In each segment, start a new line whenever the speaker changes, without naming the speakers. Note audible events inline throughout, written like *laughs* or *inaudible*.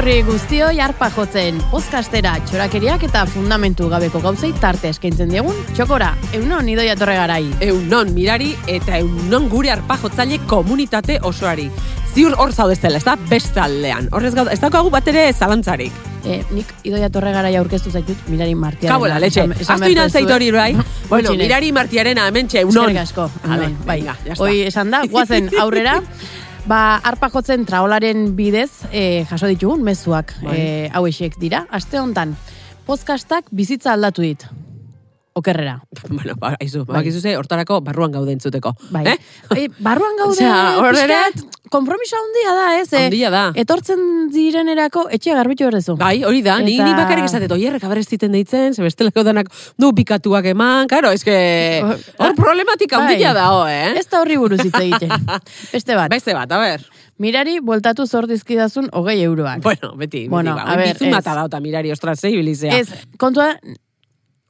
Guri guztioi arpa jotzen, podcastera, txorakeriak eta fundamentu gabeko gauzei tarte eskaintzen diegun, txokora, eunon idoia torregarai.
Eunon mirari eta eunon gure arpajotzaile komunitate osoari. Ziur hor zaudeztela, ez da bestaldean. Horrez gauda, ez daukagu bat ere zalantzarik.
E, nik idoia torregarai aurkeztu zaitut mirari martiaren.
Kabola, letxe. Aztu inan zait hori, bai? *laughs* bueno, mirari martiarena hementxe, eunon.
Eskerrik asko. Amen, bai.
venga, ya está.
Hoi esan da,
*laughs*
guazen aurrera. Ba, arpa jotzen traolaren bidez e, jaso ditugun mezuak
Bai.
e, hauexek dira. Aste hontan, podcastak bizitza aldatu dit. Okerrera.
*laughs* Bueno, ba, aizu, bakizu ze, hortarako barruan gaude entzuteko.
Bai.
Eh?
E, barruan gaude,
Osea, hor ere-
pixkat, konpromiso handia da, ez? eh?
Handia da.
Etortzen direnerako etxe garbitu berdezu.
Bai, hori da, ni,
Eta-
ni bakarrik esatet, oierre kabarez ziten deitzen, ze bestelako danak du pikatuak eman, karo, eske,
*laughs*
hor problematika handia da, ho, eh?
Bai. Ez da horri buruz hitz egiten.
*laughs*
Beste bat.
Beste bat, a ber.
Mirari, bueltatu zor dizkidazun hogei euroak.
Bueno, beti, beti,
Bueno,
ba,
a ber,
bizun
ez.
mata dauta mirari, ostras, zei bilizea.
Ez, kontua,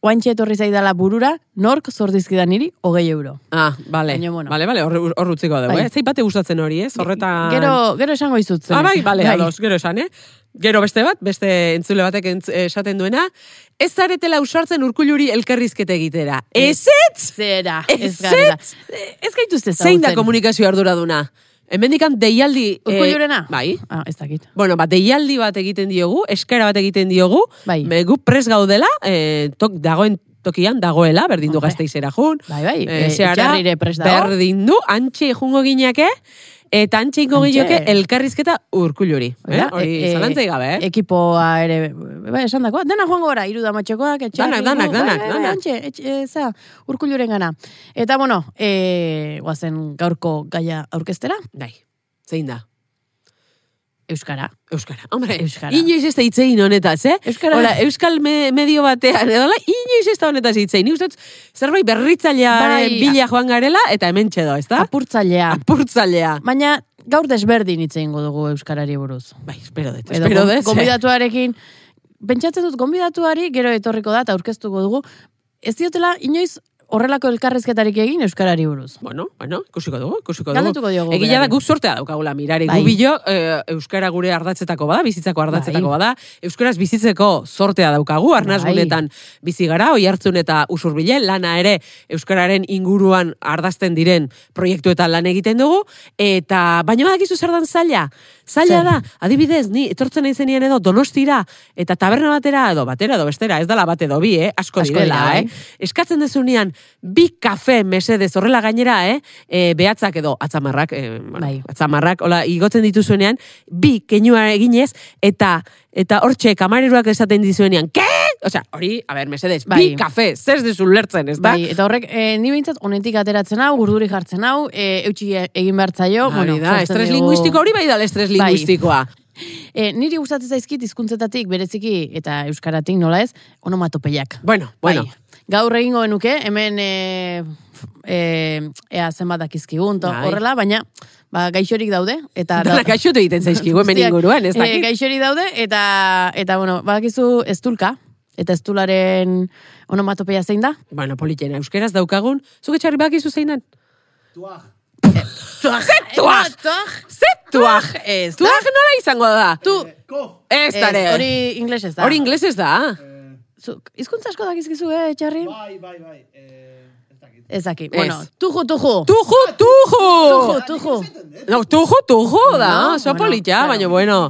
oantxe etorri zaidala burura, nork zor dizkidan niri hogei euro.
Ah, vale.
Baina, bueno.
Vale, vale, hor, hor utziko dugu,
Bai.
eh? Zei bate gustatzen hori, ez? Horretan...
Gero, gero esango izut zen.
Ah, bai, vale, ados, gero esan, eh? Gero beste bat, beste entzule batek entz, esaten duena, ez zaretela usartzen urkuluri elkarrizketa egitera. Ez ez!
Zera, ez
Ez
gara.
ez?
Ez gaituzte zagutzen.
Zein da komunikazio arduraduna? Hemendikan deialdi... eh,
Urkullurena?
bai.
Ah, ez dakit.
Bueno, ba, deialdi bat egiten diogu, eskara bat egiten diogu,
Bai.
me- gu pres gaudela, eh, tok, dagoen tokian, dagoela, berdin du
Hombre.
gazteizera jun.
Bai, bai,
eh,
e,
zehara,
itxarrire prest dago.
Berdin du, antxe jungo gineke, eta antxe ingo
Antxe.
gineke elkarrizketa urkulluri. Eh?
Oida,
Hori,
e- e-
zalantzai gabe, eh?
Ekipoa ere, bai, esan dako, dena joango gara, iru damatxekoak, etxe.
Danak, danak, danak, danak.
Antxe, etxe, eza, urkulluren gana. Eta, bueno, e, guazen gaurko gaia aurkeztera,
Dai, Bai. zein da?
Euskara.
Euskara, hombre,
Euskara.
inoiz ez da itzein honetaz, eh?
Euskara-
Hora, euskal me- medio batean, edola, inoiz ez da honetaz itzein. Nik uste dut zerbait berritzailearen
Bai.
bila joan garela, eta hemen txedo, ez da?
Apurtzailea.
Apurtzailea.
Baina, gaur desberdin hitz egingo dugu Euskarari buruz.
Bai, espero dut,
Edo
espero
gon-
dut.
Gonbidatuarekin, pentsatzen dut, gonbidatuari gero etorriko da eta aurkeztuko dugu. Ez diotela, inoiz, horrelako elkarrezketarik egin Euskarari buruz.
Bueno, bueno, ikusiko dugu, ikusiko
Galdetuko
dugu.
diogu
Egia da
berari.
guk sortea daukagula mirari.
Bai.
Gu bilo eh, euskara gure ardatzetako bada, bizitzako ardatzetako
Bai.
bada, euskaraz bizitzeko sortea daukagu, arnasgunetan bizi gara, oi hartzun eta usurbile, lana ere euskararen inguruan ardazten diren proiektuetan lan egiten dugu, eta baina badakizu zer dan zaila. Zaila
Zer?
da, adibidez, ni etortzen naizenean edo donostira, eta taberna batera edo batera edo bestera, ez dala bat edo bi, eh? asko,
Asko
direla,
dira, bai.
eh? eskatzen dezunean bi kafe mesedez horrela gainera, eh, e, behatzak edo atzamarrak, e, bueno,
Bai.
atzamarrak, hola, igotzen dituzuenean, bi keinua eginez, eta eta hortxe kamareruak esaten dizuenean, ke? Osea, hori, a ber, mesedez,
Bai.
bi kafe, zer dezu lertzen, ez da?
Bai, eta horrek, e, ni behintzat, honetik ateratzen hau, urduri jartzen hau, e, eutxi e- egin behartzaio.
Hori
Bueno,
da,
sortzen
estres
digu-
linguistiko hori bai da estres
Bai.
linguistikoa.
E, niri gustatzen zaizkit hizkuntzetatik bereziki eta euskaratik nola ez, onomatopeiak.
Bueno, bueno.
Bai. Gaur egingo genuke, hemen e, f- e, ea zenbat dakizkigun, to,
Bai.
horrela, baina ba, gaixorik daude. Eta
Dala kaixotu egiten zaizkigu hemen
Guztiak,
inguruan, ez
E,
dakit?
gaixorik daude, eta, eta bueno, badakizu estulka, eta estularen onomatopeia zein da?
Bueno, politena, euskeraz daukagun, zuke txarri bakizu zein den?
Tuaj!
tuaj! Zetuaj!
Ez da.
Tuaj nola izango da?
Tu,
Eh,
Ez,
ez,
dare.
hori ingles ez da.
Hori inglesez da.
eh,
Zuk, izkuntza asko dakizkizu, eh, txarri?
Bai, bai, bai. Eh, ez dakit.
Ez daki.
Ez.
Bueno, tuju, tuju.
Tuju, tuju!
Tuju,
Ah,
tuju.
No, tuju, tuju, da,
No,
oso
bueno,
politxa,
claro.
baina bueno.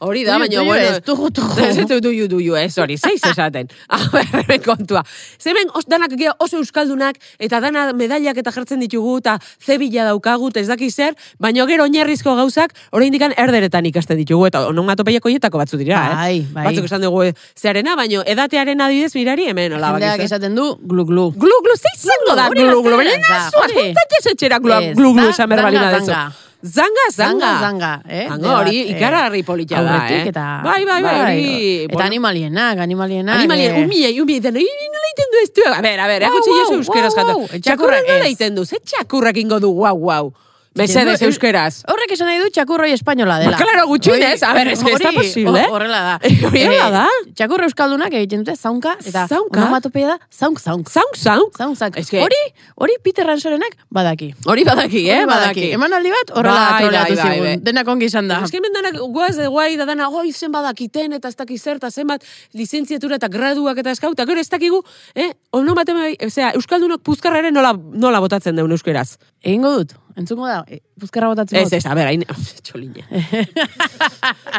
Hori da,
Tuju,
baina
tuju
bueno.
ez, tuju, tuju.
*laughs* Ez ez du ju, du ju, ez hori, zeiz esaten. *laughs* A ber, hemen kontua. Zemen os, danak geha oso euskaldunak, eta dana medailak eta jartzen ditugu, eta zebila daukagu, eta ez daki zer, baina gero oinarrizko gauzak, oraindik erderetan ikasten ditugu, eta onomatopeiak hoietako batzu dira, eh?
Bai, bai.
Batzuk esan dugu eh, zearena, baina edatearen adibidez mirari hemen, hola,
Jendeak
bakizu. eh.
esaten du glu-glu.
Glu, glu, zein izango da,
Hori
glu, glu, glu,
gaztelera
beren
da,
azua,
hori.
juntatxez etxera glu,
Ez,
glu, glu,
da,
esan behar balin
zanga,
badezu.
zanga.
Zanga, zanga.
Zanga, zanga, eh?
Zanga,
Debat,
hori,
eh,
ikaragarri polita da, eh?
aurretik eta-
bai, bai, bai, hori.
Eta animalienak, animalienak.
Animalien,
eh,
umiei, umiei, dena, "Ih, nola iten du ez du? A ber, a ber,
Guau,
erakutsi
guau,
jesu euskeraz
guau,
jatu.
guau. Txakurrak
Txakurrak nola
ez.
iten du, ze txakurrak ingo du, guau, guau. Mesedes
Jendu-
euskeraz.
Horrek esan nahi du txakurroi espainola dela.
Ba, claro, gutxienez.
Hori-
A ber, es que ez da
hori-
posible.
ho- Horrela da.
*laughs* Horrela
Eh,
da.
Txakurro euskaldunak egiten dute zaunka eta
Zaunka?
onomatopeia da zaunk zaunk.
Zaunk, zaunk.
Zaunk zaunk.
Ez que-
Hori, hori Peter Ransorenak badaki.
Hori badaki, eh?
Hori
Badaki.
Emanaldi bat horrela
Bai,
troleatu
bai, bai,
zigun.
bai.
Denak ongi izan da.
Ez que hemen denak guaz de guai da dana, oi, zen badakiten, eta ez dakiz zer, eta zenbat lizentziatura eta graduak eta eskauta. Gero ez dakigu, eh, ono baten bai, osea, Euskaldunok puzkarra ere nola, nola botatzen deun euskeraz.
Egingo dut. Entzuko da. e, Buzkarra botatzen
Ez,
dut.
ez, a ber, hain, Ah, txolina. *laughs*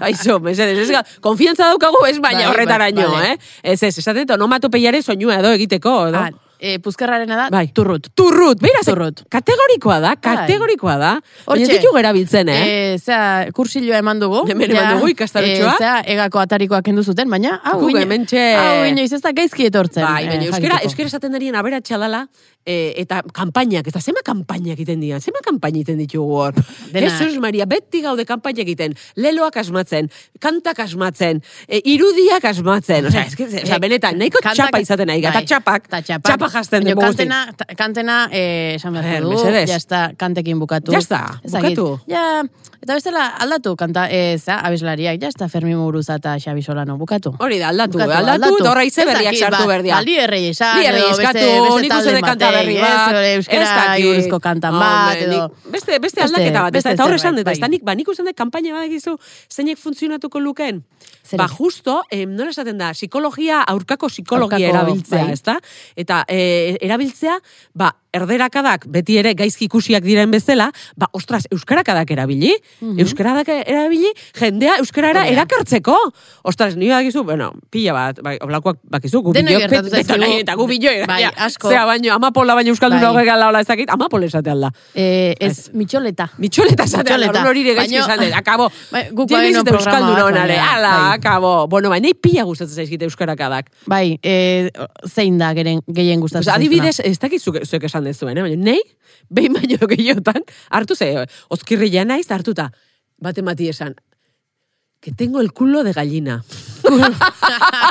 Aizu, mesedez, ez, ga- konfiantza daukagu ez, baina
Bai, bai,
horretaraino,
bale.
eh? Ez, ez, esaten dut, onomatopeiaren soinua edo egiteko, edo?
Ah, eh, Puzkarrarena da.
Bai.
Turrut.
Turrut, beira, ze-
Turrut. Bai.
kategorikoa da, kategorikoa da. Baina ez
Hortxe.
ditu erabiltzen, eh?
Eh, zea, kursilloa eman dugu.
Hemen eman
Ja,
dugu ikastarotxoa.
eh, zea, egako atarikoak kendu zuten, baina hau
Guk
ino-
hementxe-
Hau inoiz ez da gaizki etortzen.
Bai, baina
eh,
euskera,
jakiteko.
euskera esaten darien aberatxa dala, eh, eta kanpainak, eta zema kanpainak egiten dira, zema kanpaina egiten ditugu
*laughs*
hor.
Dena.
Jesus Maria, beti gaude kanpainak egiten, leloak asmatzen, kantak asmatzen, eh, irudiak asmatzen,
*laughs*
osea, eske, osea, benetan, nahiko
Kantak-
txapa izaten nahi, eta
Eh, Bai,
txapak,
eta txapak.
txapa jazten
Baina
dugu guztin.
Kantena, ta- kantena, eh, esan
Eh,
behar dugu,
mesedez.
ja está, kantekin bukatu.
Ya está,
Ez dakit.
bukatu.
Ja, eta bestela aldatu, kanta, eh, za, abeslariak, ja está, Fermi Muguruza eta Xabi Solano, bukatu.
Hori da, aldatu, aldatu, eta horra ize
Ez
berriak
dakit,
sartu
ba,
berdia.
Aldi herrei esan,
Bi herri
edo beste-
eskatu,
beste
nik uste
talde
dut kanta
batei,
berri
ez,
bat.
hori euskara
ez dakit.
buruzko kantan
Hombre,
bat, edo-
nik- Beste, beste aldaketa bat,
beste
eta horre
zerbait,
esan dut,
bai.
eta nik, ba, nik uste dut, kampaina bat egizu, zeinek funtzionatuko luken?
Zeinek?
Ba, justo, em, nola esaten da, psikologia, aurkako psikologia
Aurkako,
erabiltzea,
bai.
ez da? Eta eh, erabiltzea, ba, erderakadak, beti ere gaizki ikusiak diren bezala, ba, ostras, euskarakadak erabili, euskaradak erabili, jendea euskarara
Mhm. Hori da.
erakartzeko. Ostras, nio dakizu, bueno, pila bat, bai, oblakoak bakizu, gu
Denoi
bilok,
gertatu
bet-
zaizkigu.
betonai, Eta gu bilo,
Bai, asko.
Zea baino, amapola baino euskaldun
Bai.
bai. horrek alaola ez dakit, amapola esate alda.
Eh, ez, mitxoleta.
Mitxoleta esate alda,
Mitxoleta.
orduan hori ere gaizki
Baina-
esan dut, akabo.
Bai, guk
Jeniz
baino
eta
programa
euskaldun
bat,
honare,
baina,
ala,
bai.
akabo. Bueno, baina pila gustatzen zaizkite euskarakadak.
Bai, eh, zein da geren, gehien gustatzen
Osa,
zaizuna?
adibidez, ez dakit zuek, zuek esan dezuen, eh? baina nei, behin baino gehiotan, hartu ze, ozkirrila naiz, eta hartuta, bate mati esan, que tengo el culo de
*laughs*
gallina.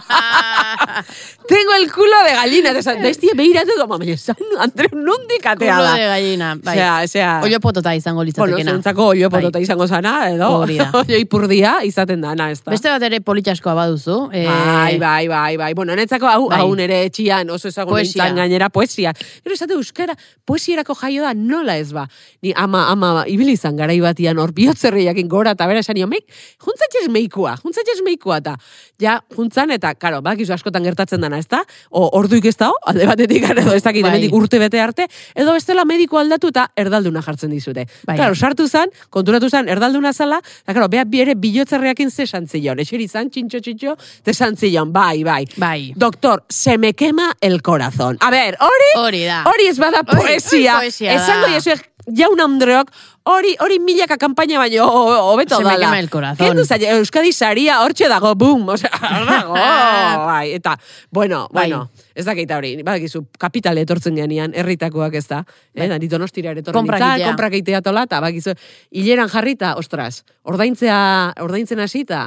Ah,
tengo el culo de gallina. Eta esan, bestia behiratu, goma, baina esan, Andreu, nondik *laughs* atea da.
Kulo de gallina, bai.
Osea, osea.
Ollo potota izango
Bueno,
litzatekena.
zentzako olio
Bai.
potota izango zana, edo,
Hori da.
*laughs* olio ipurdia izaten dana, ez da.
Beste bat ere politxaskoa baduzu. Eh,
Bai, bai, bai, bai. Bueno, netzako hau,
Bai.
hau nere etxian oso ezagun
Poesia.
nintzen gainera poesia. Gero esate euskara, poesierako jaio da nola ez ba. Ni ama, ama, ibili izan garai batian hor bihotzerriakin gora eta bera esan nio, meik, juntzatxez meikua, juntzatxez meikua eta ja, juntzan eta, karo, bakizu askotan gertatzen dana, ez da? O, orduik ez da, alde batetik, edo ez dakit,
Bai.
hemendik urte bete arte, edo bestela mediko aldatu eta erdalduna jartzen dizute.
Bai.
Claro, sartu zan, konturatu zan, erdalduna zala, eta claro, bea bi ere bilotzerreakin ze santzion, eseri zan, txintxo, txintxo, te santzion, bai, bai.
Bai.
Doktor, se me quema el corazón. A ver, hori,
Hori da.
hori ez bada
Hori- hori
poesia.
poesia da.
Esango jesuek, jaun andreok, hori, hori milaka kanpaina baino ho- hobeto
Se me
dala.
quema el corazón.
Kendu zaila, Euskadi saria, hortxe dago, boom, osea, hor
*laughs*
dago, bai, eta, bueno,
Bai.
bueno, ez dakit hori, badakizu, kapitale etortzen genian, herritakoak ez da, eh, da, ni donostira ere etorri
Konprak
nintzen,
Bai. egitea.
konprak egitea tola, eta bakizu, hileran jarrita, ostras, ordaintzea, ordaintzen hasita,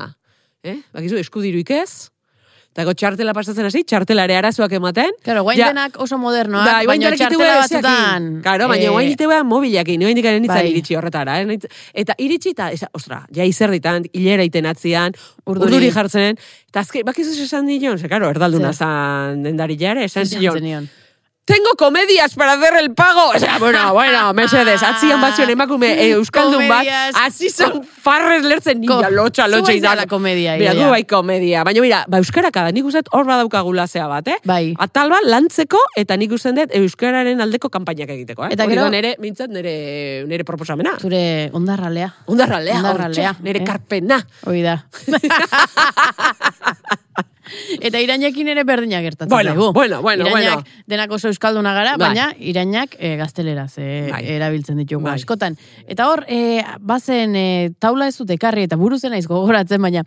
eh, bakizu, eskudiruik ez, eta go txartela pasatzen hasi, txartela ere arazoak ematen.
Claro, guain
Ja,
denak oso modernoak,
Bai, guain
baina
denak
txartela
ITV
batzutan...
zeakin. Claro, baina
eh,
guain iteuea mobilakin, nioen dikaren nintzen
bai.
iritsi horretara. Eh? Nintz- Eta iritsi eta, esa, ostra, ja izer ditan, hilera iten atzian,
Urduri.
urduri, jartzen, eta azke, bakizuz esan dion, ze, karo, erdalduna zan dendari jare, esan
jartzen
zion,
nion.
tengo comedias para hacer el pago. O sea,
*laughs*
bueno, bueno, mesedes, atzian batzuen emakume e, Euskaldun bat,
Comedias.
hasi zen farrez lertzen
Ko-
nila, lotxa, lotxa
Zu ez
izan.
dela komedia,
Bira,
ideia.
gu bai komedia. Baina, mira, ba, euskaraka da, nik uste dut hor badaukagula zea bat, eh?
Bai.
Atal bat lantzeko, eta nik uste dut euskararen aldeko kanpainak egiteko,
Eta
eh? Eta
gero-
gero... nere, mintzat, nere, nere proposamena.
Zure ondarralea.
Ondarralea,
Ondarralea,
ondarralea, nere
eh?
karpena.
Hoi
*laughs*
da. Eta irainekin ere berdina gertatzen
Bueno,
zaigu.
bueno, bueno,
irainak
bueno.
denak oso euskalduna gara,
Bai.
baina irainak eh, gazteleraz eh,
Bai.
erabiltzen ditugu
Bai.
askotan. Eta hor, eh, bazen eh, taula ez dut ekarri eta buruzen naiz gogoratzen, baina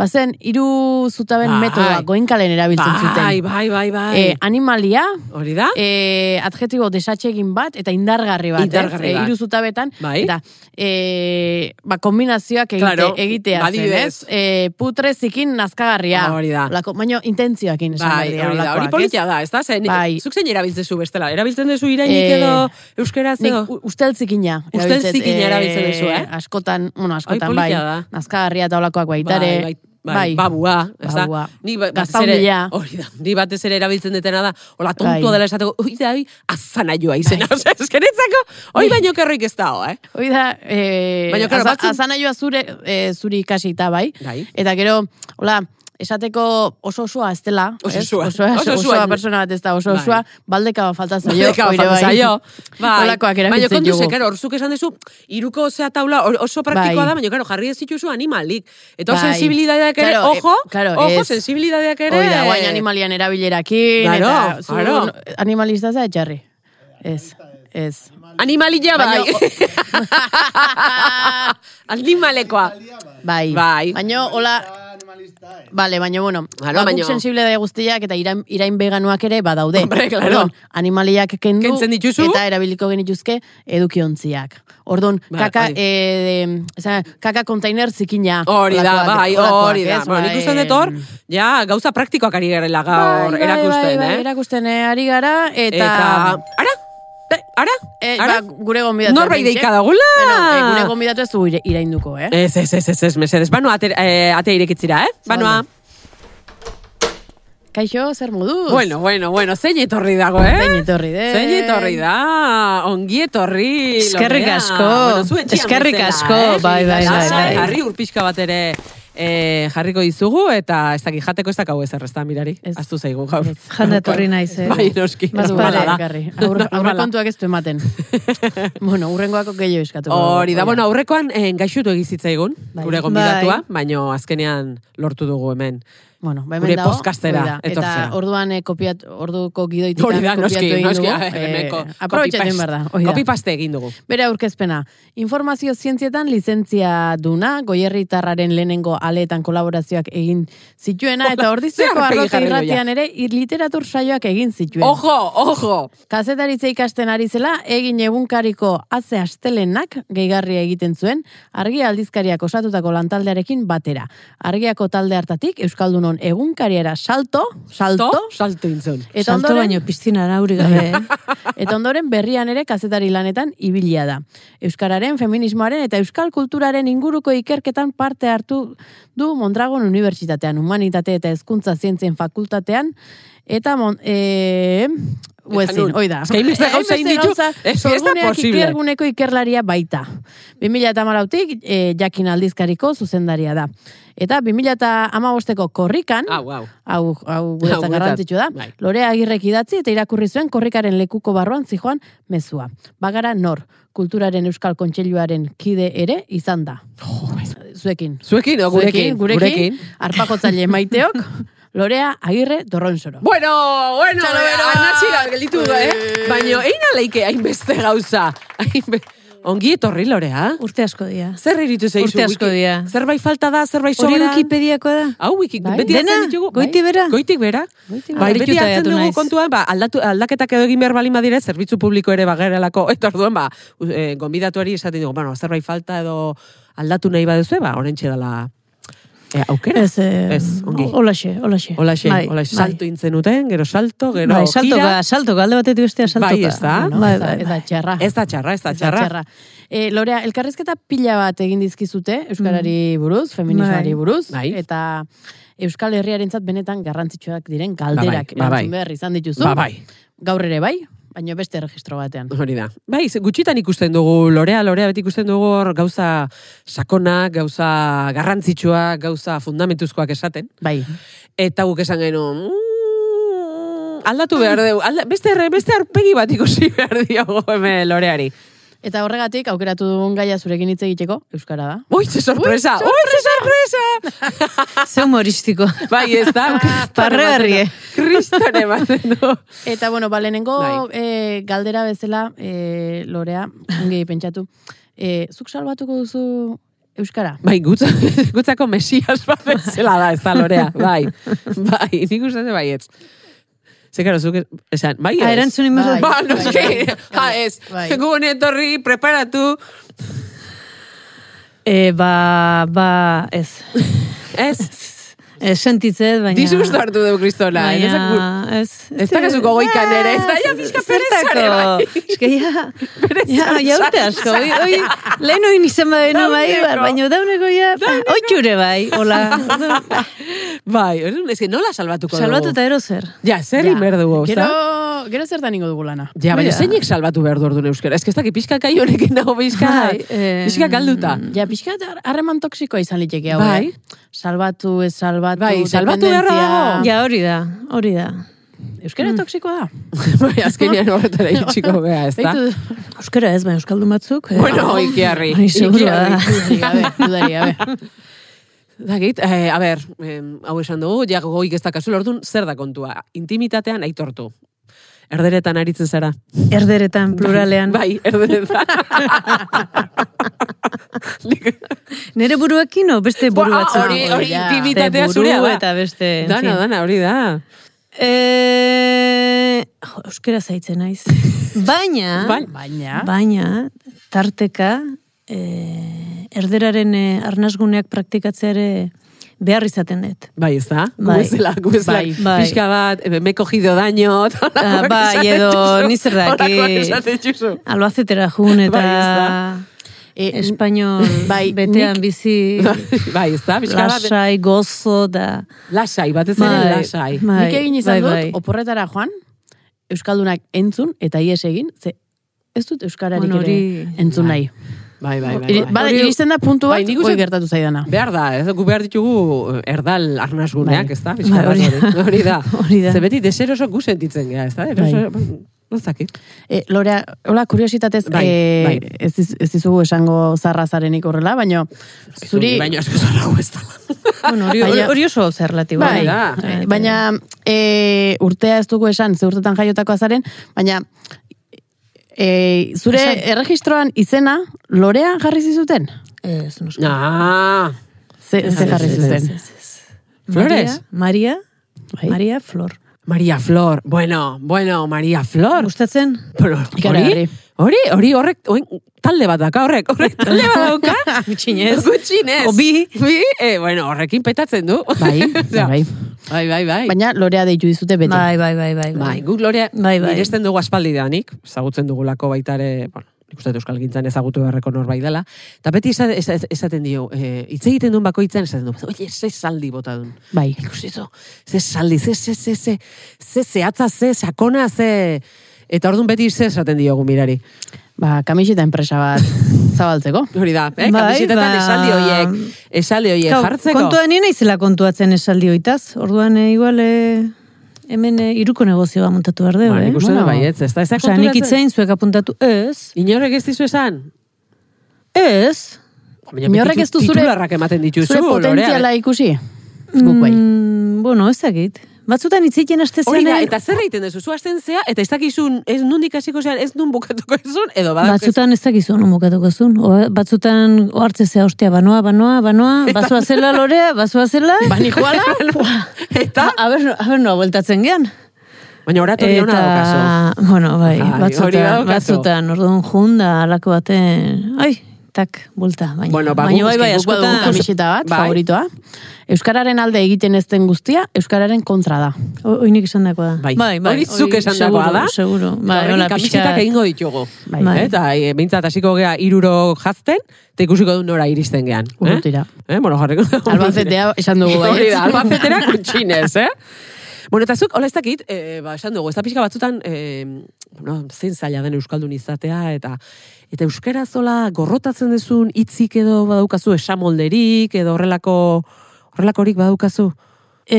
bazen hiru zutaben
Bai.
metodoa goinkalen erabiltzen
Bai,
zuten.
bai, bai, bai.
Eh, animalia,
Hori da?
eh, adjetibo desatxegin bat eta indargarri bat,
Indargarri
ez? Eh,
bat.
hiru zutabetan
Bai.
eta eh, ba, kombinazioak egite,
Claro,
egitea zen,
adibidez.
ez? Eh, putre zikin nazkagarria.
Hori da.
olako, baina intentzioakin esan
Bai,
behar dira
hori da, hori
holakoak,
politia da, ez da? Zen,
Bai.
Zuk zein erabiltzen zu bestela? Erabiltzen duzu irainik
Eh,
edo euskaraz
ez? Nik
edo?
u- usteltzikina. erabiltzen dut,
Usteltzikina
eh,
erabiltzen duzu, eh?
Askotan, bueno, askotan, bai.
politia da.
Nazkagarria eta olakoak baitare.
bai, bai, bai, babua, ez da?
Babua.
Ni ba- batez
Gaztaundia.
ere- Hori da, ni batez ere erabiltzen detena da, hola tontua
Bai.
dela esateko, oi da, oi, azana joa izena. *laughs* Osea, eskenetzako, hoi
Bai.
baino kerroik ez dago, eh?
Hoi da, eh,
Baina, claro,
aza-
batzuk-
azanaioa zure, eh, zuri ikasita, bai?
Bai.
Eta gero, hola, esateko oso osoa ez dela. ez?
Oso-osoa.
Osoa,
Oso-osoa.
osoa, persona bat ez da, oso osoa, baldeka bat falta zaio.
Bai. Baldeka bat
oire
falta
bai.
zaio. Bai.
Holakoak
Baina
erabiltzen
kontu
dugu.
ze, karo, orzuk esan dezu, iruko zea taula or- oso praktikoa
Bai.
da, baina, karo, jarri ez dituzu animalik. Eta hor
Bai.
sensibilidadeak ere,
Claro, eh,
ojo,
claro,
ojo,
ez.
sensibilidadeak ere.
Hoi da, guain animalian erabilerakin,
Claro,
eta zu
claro.
animalista za etxarri. Ez, ez.
Animalia bai. *laughs* Animalekoa.
*laughs* Bai.
Bai.
Baina, hola,
Animalista, eh.
Bale, baina, bueno,
Claro,
ba,
baino-
guk sensible da guztiak eta irain, irain veganuak ere badaude.
Hombre, claro.
Orduan, animaliak kendu
Kentzen dituzu.
eta erabiliko genituzke edukiontziak. Ordon,
Ba,
kaka,
hori.
e, esa, kaka kontainer zikina.
Hori da,
Olakoak-
bai,
olakoak,
hori da.
ez?
Bueno, nik
Ba,
uste
em,
dut hor, ja, gauza praktikoak ari garela
bai,
gaur,
bai,
erakusten,
bai, bai,
eh?
Erakusten eh, ari gara eta...
Eta, ara, Be- ara,
Eh,
ara,
ba, gure gonbidatu.
norbait deika dagula!
Bueno, eh, gure gonbidatu ez du ire- irainduko, eh?
Ez, ez, ez, ez, ez, mesedez. Banoa, ate, eh, atea irekitzira, eh? Banoa.
Ondo. Kaixo, zer moduz?
Bueno, bueno, bueno, zein etorri dago, eh?
Zein etorri den.
Zein etorri da, ongi etorri.
Eskerrik
Lorea.
asko.
Bueno, zu etxean
Eskerrik
bezala,
asko,
eh?
bai,
bai,
bai,
Lasai,
bai.
Harri urpixka bat ere eh, jarriko dizugu, eta ez dakit jateko ez dakau ezer, ez da, mirari?
Ez.
Aztu zaigu gaur.
Janda etorri naiz, eh?
Bai, noski.
Badu
normala
bere
da. *laughs*
ekarri. Aurre,
Normala.
aurrekontuak ez du
*laughs*
ematen. bueno, urrengoako gehiago eskatuko. dugu.
Hori da, bueno, aurrekoan eh, gaixutu egizitzaigun,
Bai.
gure gonbidatua, baino azkenean lortu dugu hemen.
bueno, ba, hemen
gure
dago,
podcastera
hori da.
etortzea.
Eta orduan eh, kopiat, orduko gidoitikan
Hori da, noski,
kopiatu egin
noski,
dugu.
a ver, hemenko
eh, aprobetxatu egin behar da. hori da.
Kopipaste egin dugu.
Bere aurkezpena, informazio zientzietan lizentzia duna, goierritarraren lehenengo aleetan kolaborazioak egin zituena, eta
zer
ordizeko
aurpegi
arrote
jarri doia.
irratian ere ir- literatur saioak egin zituen.
Ojo, ojo!
Kazetaritza ikasten ari zela, egin egunkariko aze astelenak gehigarria egiten zuen, argia aldizkariak osatutako lantaldearekin batera. Argiako talde hartatik, Euskaldunon egunkariera salto, salto,
To? Salto intzun.
eta
Salto
ondoren,
baino piztina nauri gabe. eh?
*laughs* eta ondoren berrian ere kazetari lanetan ibilia da. Euskararen, feminismoaren eta euskal kulturaren inguruko ikerketan parte hartu du Mondragon Unibertsitatean, Humanitate eta Hezkuntza Zientzien Fakultatean, eta mon, e, Uezin,
nun,
hoi da.
eske hainbeste gauza egin ditu,
gauza,
ez- ez da
sorguneak
posible.
ikerguneko ikerlaria baita. 2008-tik eh, jakin aldizkariko zuzendaria da. Eta 2008-ko korrikan,
Hau, hau.
hau, hau guretzat
guretzat,
garrantzitsu da.
bai.
Lorea agirrek idatzi eta irakurri zuen korrikaren lekuko barruan zijoan mezua. Bagara nor, kulturaren euskal kontseiluaren kide ere izan da. Zuekin.
Zuekin, o, gurekin,
gurekin, Arpakotzaile
*laughs*
maiteok, Lorea Agirre Dorronsoro.
Bueno, bueno,
Txalo, bero.
anatxira gelditu da, eh?
Eh.
Baina, egin aleike hainbeste gauza. Hainbe... Ongi etorri ah? lorea.
Urte asko dira.
Zer iritu zaizu?
Urte asko
Wiki-
dira.
Zerbait falta da, zerbait
Hori
sobera.
Wikipediakoa da?
Hau, wiki,
Bai.
beti
Dena?
hartzen ditugu.
Goitik
bai.
behera?
Goitik bera.
Goitik
Bai,
behera.
beti
Harrituta
hartzen
geratu
dugu
naiz.
kontuan, ba, aldatu, aldaketak edo egin behar balin badire, zerbitzu publiko ere bagerelako, eta orduan, ba, u- eh, gonbidatuari esaten dugu, bueno, zerbait falta edo aldatu nahi baduzu, ba, horrentxe dela eh, aukera.
Ez, eh,
Ez, ongi.
Olaxe, olaxe.
Olaxe,
Bai,
olaxe,
bai.
salto intzenuten, gero salto, gero
Bai, saltoka,
jira.
saltoka, alde batetik bestea saltoka.
Bai, ez da.
Bueno, bai,
ez da-
bai,
ez da
bai.
txarra.
Ez da txarra, ez da
Ez da
txarra.
txarra. Eh, Lorea, elkarrizketa pila bat egin dizkizute, Euskarari buruz, feminismoari
Bai.
buruz,
Mm. Bai.
eta Euskal Herriarentzat benetan garrantzitsuak diren galderak
ba, bai.
erantzun behar izan dituzu.
Ba, bai.
Gaur ere bai, baino beste registro batean.
Hori da. Bai, ze gutxitan ikusten dugu lorea, lorea beti ikusten dugu hor gauza sakonak, gauza garrantzitsuak, gauza fundamentuzkoak esaten.
Bai,
Eta guk esan genuen, "Mm, aldatu behar dugu, alda, beste, erre- beste arpegi bat ikusi behar diogo hemen loreari.
eta horregatik aukeratu dugun gaia zurekin hitz egiteko, Euskara da.
Oi, ze sorpresa! Oi, ze sorpresa! *laughs*
Ze humoristiko.
bai, ez da. kriston
Barregarri,
ematen
eh?
du. Kriston ematen du.
Eta, bueno, ba, lehenengo
Bai.
eh, galdera bezala, eh, Lorea, ongi pentsatu, eh, zuk salbatuko duzu Euskara?
Bai, gutza, *laughs* gutzako mesias bat bezala da, ez da lorea. Bai, bai, nik uste ze baietz. Ze, karo, zuk, esan, bai ez.
Ah, erantzunin behar
Bai.
da.
Ba, noski,
Bai.
ja, ez.
Bai.
Gu honetorri, preparatu.
Eh, ba, ba, ez.
Ez,
Eh, sentitzet, baina...
Disgusto hartu dugu kristona. Baina...
Baina... Ez,
Ez dakazuko goikan ere, ez da, ja, pixka pereza ere, bai.
Ez que ja, ja, ja urte asko. Oi,
*laughs*
oi, lehen oin izan badenu bai,
Dauneko.
baina dauneko ja, oitxure bai,
*laughs*
hola.
*laughs* Bai, ez que nola salbatuko dugu.
Salbatu eta ero zer.
Ja, zer ja. behar dugu,
Gero,
ezta?
gero zertan ingo dugu lana.
Ja, baina
Ja.
zeinek salbatu behar du orduan euskara. Ez que ez dakit pixka kai honekin dago pixka,
Bai, em,
pixka galduta. *laughs*
Ja, pixka bat har- harreman toksikoa izan liteke hau,
Bai.
eh? Salbatu, ez salbatu,
Bai, salbatu beharra dago.
Ja, hori da, hori da.
Euskara toksikoa da.
Bai, azkenean horretara
*laughs*
itxiko gea, ez da? *laughs*
Deitu-
Euskara ez, baina Euskaldun batzuk. eh,
Bueno, ikiarri.
Bai, seguro da.
Dudarik gabe, dudarik gabe.
Dakit, eh, a ber, eh, hau esan dugu, ja goik ez dakazu, orduan zer da kontua? Intimitatean aitortu. Erderetan aritzen zara.
Erderetan, pluralean.
Bai, erderetan. Nik-
Nere buruekin o beste *laughs* buru
Ba,
batzuk?
hori, hori
Ja.
intimitatea
Ze
zurea
buru
da.
eta beste, en
Dana,
fin.
dana, hori da.
Eh, jo, euskera zaitzen
*laughs*
naiz. Baina,
*laughs* Bai.
Baina,
baina, tarteka, eh, erderaren eh, arnasguneak praktikatzea ere behar izaten dut.
Bai, ez da?
Bai.
Gubezela, gubezela.
Bai,
bai.
Pixka bat, eh, me he cogido daño. *laughs*
Ah, bai, edo, ni zer dakit.
eh?
Albazetera jun
Bai,
eta
ez
e,
espainol
*laughs*
bai,
betean
nik-
bizi
Bai, ez da? Pixka bat,
lasai, gozo da.
lasai, batez ere
Bai,
lasai.
bai,
nik egin izan
bai, bai.
dut, oporretara joan, Euskaldunak entzun eta ies egin, ze ez dut Euskararik
Bueno, hori-
ere entzun nahi.
Bai, bai, bai.
Iri-
bai.
Bada, iristen da puntu bat,
Bai, nik uste-
hoi gertatu zaidana.
Behar da, ez gu behar ditugu eh, erdal arnasguneak,
Bai.
ez da? Pixka
Bai,
bat
hori
hori.
da.
*laughs* Hori da. Bai.
Hori da.
Ze beti deseroso gu sentitzen gea, ez da? Eroso, ba, ez dakit.
E, Lorea, hola, kuriositatez,
Bai,
eh,
bai.
Ez, diz- ez dizugu esango zarra zarenik horrela, baina zuri...
Baina asko zorrago ez da.
Bueno, hori,
Baina-
hori oso zer latibo.
Bai,
da.
eh, baina e, urtea ez dugu esan, ze urtetan jaiotako azaren, baina e, zure
Esan.
erregistroan izena Lorea jarri zizuten?
eh, Ez, noski.
Ah,
Ze, ze
ez,
jarri
ez,
zuten?
Ez, ez.
Flores?
Maria,
Bai.
Maria, Maria Flor.
Maria Flor. Bueno, bueno, Maria Flor.
Gustatzen?
Pero, hori,
Ikaragarri.
hori, hori horrek, oin, talde bat daka, horrek, horrek *laughs* talde bat
*laughs* Ah,
dauka.
Gutxinez.
Gutxinez.
O bi.
Bi, eh, bueno, horrekin petatzen du. *laughs*
Bai,
Osea,
bai.
Bai, bai, bai.
Baina Lorea deitu dizute beti.
Bai, bai, bai, bai.
Bai, guk lorea
Bai, bai.
miresten dugu aspaldi danik, ezagutzen dugulako baitare, bueno, nik uste dut euskal gintzan ezagutu beharreko norbait dela, eta beti esa- esa- esaten, dio, eh, hitz egiten duen bakoitzan esaten du, oie, ze saldi bota duen.
Bai.
Ikusi zu, ze saldi, ze, ze, ze, ze, ze zehatza, ze sakona, ze... Eta orduan beti ze esaten diogu mirari.
Ba, kamiseta enpresa
*laughs*
bat zabaltzeko.
Hori da, eh?
Bai,
Kamisetetan
ba.
esaldi hoiek, esaldi hoiek
Kau,
jartzeko.
Kontua ni naizela kontuatzen esaldi hoitaz. Orduan, eh, igual, eh, hemen eh, iruko negozioa montatu behar dugu,
Bueno,
eh?
Bai, nik uste dut
Bueno.
baietz, ez da, ez da
Osea, nik
konturatzen.
itzein zuek apuntatu, ez,
Inorrek ez dizu esan?
ez,
Baina
Inorrek ez du zure-
Titularrak ematen dituzu,
Zure
Lorea.
potentziala ikusi? Guk bai.
mm, bueno, ez dakit. Batzutan itzeiten aste
Hori
zenean-
da, eta zer egiten duzu, zu hasten zea, eta ez dakizun, ez nundik hasiko zean, ez nun bukatuko ezun, edo
Ba,
badakizu.
Batzutan ez dakizu non bukatuko zuen. O, batzutan ohartze zea, ostia, banoa, banoa, banoa, bazoa zela lorea, bazoa zela.
Ba,
Bani
*laughs*
joala?
Ba.
Eta,
A, a ber, a ber, noa bueltatzen gean.
baina oratoria ona daukazu.
bueno, bai,
Bai, hori
batzutan,
daukazu.
batzutan, orduan junda, alako baten, ai, tak, bulta, baina,
Bueno, ba,
baina
guk
bai, bai,
eske guk
Badugu
askotan,
kamiseta bat,
Bai.
favoritoa. Euskararen alde egiten ez den guztia, Euskararen kontra da.
O- oinik esan dakoa da.
Bai.
bai, bai,
Hori zuk
hori
esandakoa da.
Seguro, seguro. Bai,
Eta
hola,
horrekin kamisetak
pixkat.
egingo ditugu.
Bai.
Bai.
Eta e, behintzat hasiko gea iruro jazten, eta ikusiko du nora iristen gean.
Urrutira.
Eh? eh? Bueno, jarriko.
Albazetea esan dugu bai.
Hori da, albafetera kuntxinez, eh? Bueno, eta zuk, hola ez dakit, eh, ba, esan dugu, ez da pixka batzutan, eh, bueno, zein zaila den Euskaldun izatea, eta eta euskera zola gorrotatzen dezun hitzik edo badaukazu esamolderik, edo horrelako horrelakorik badaukazu.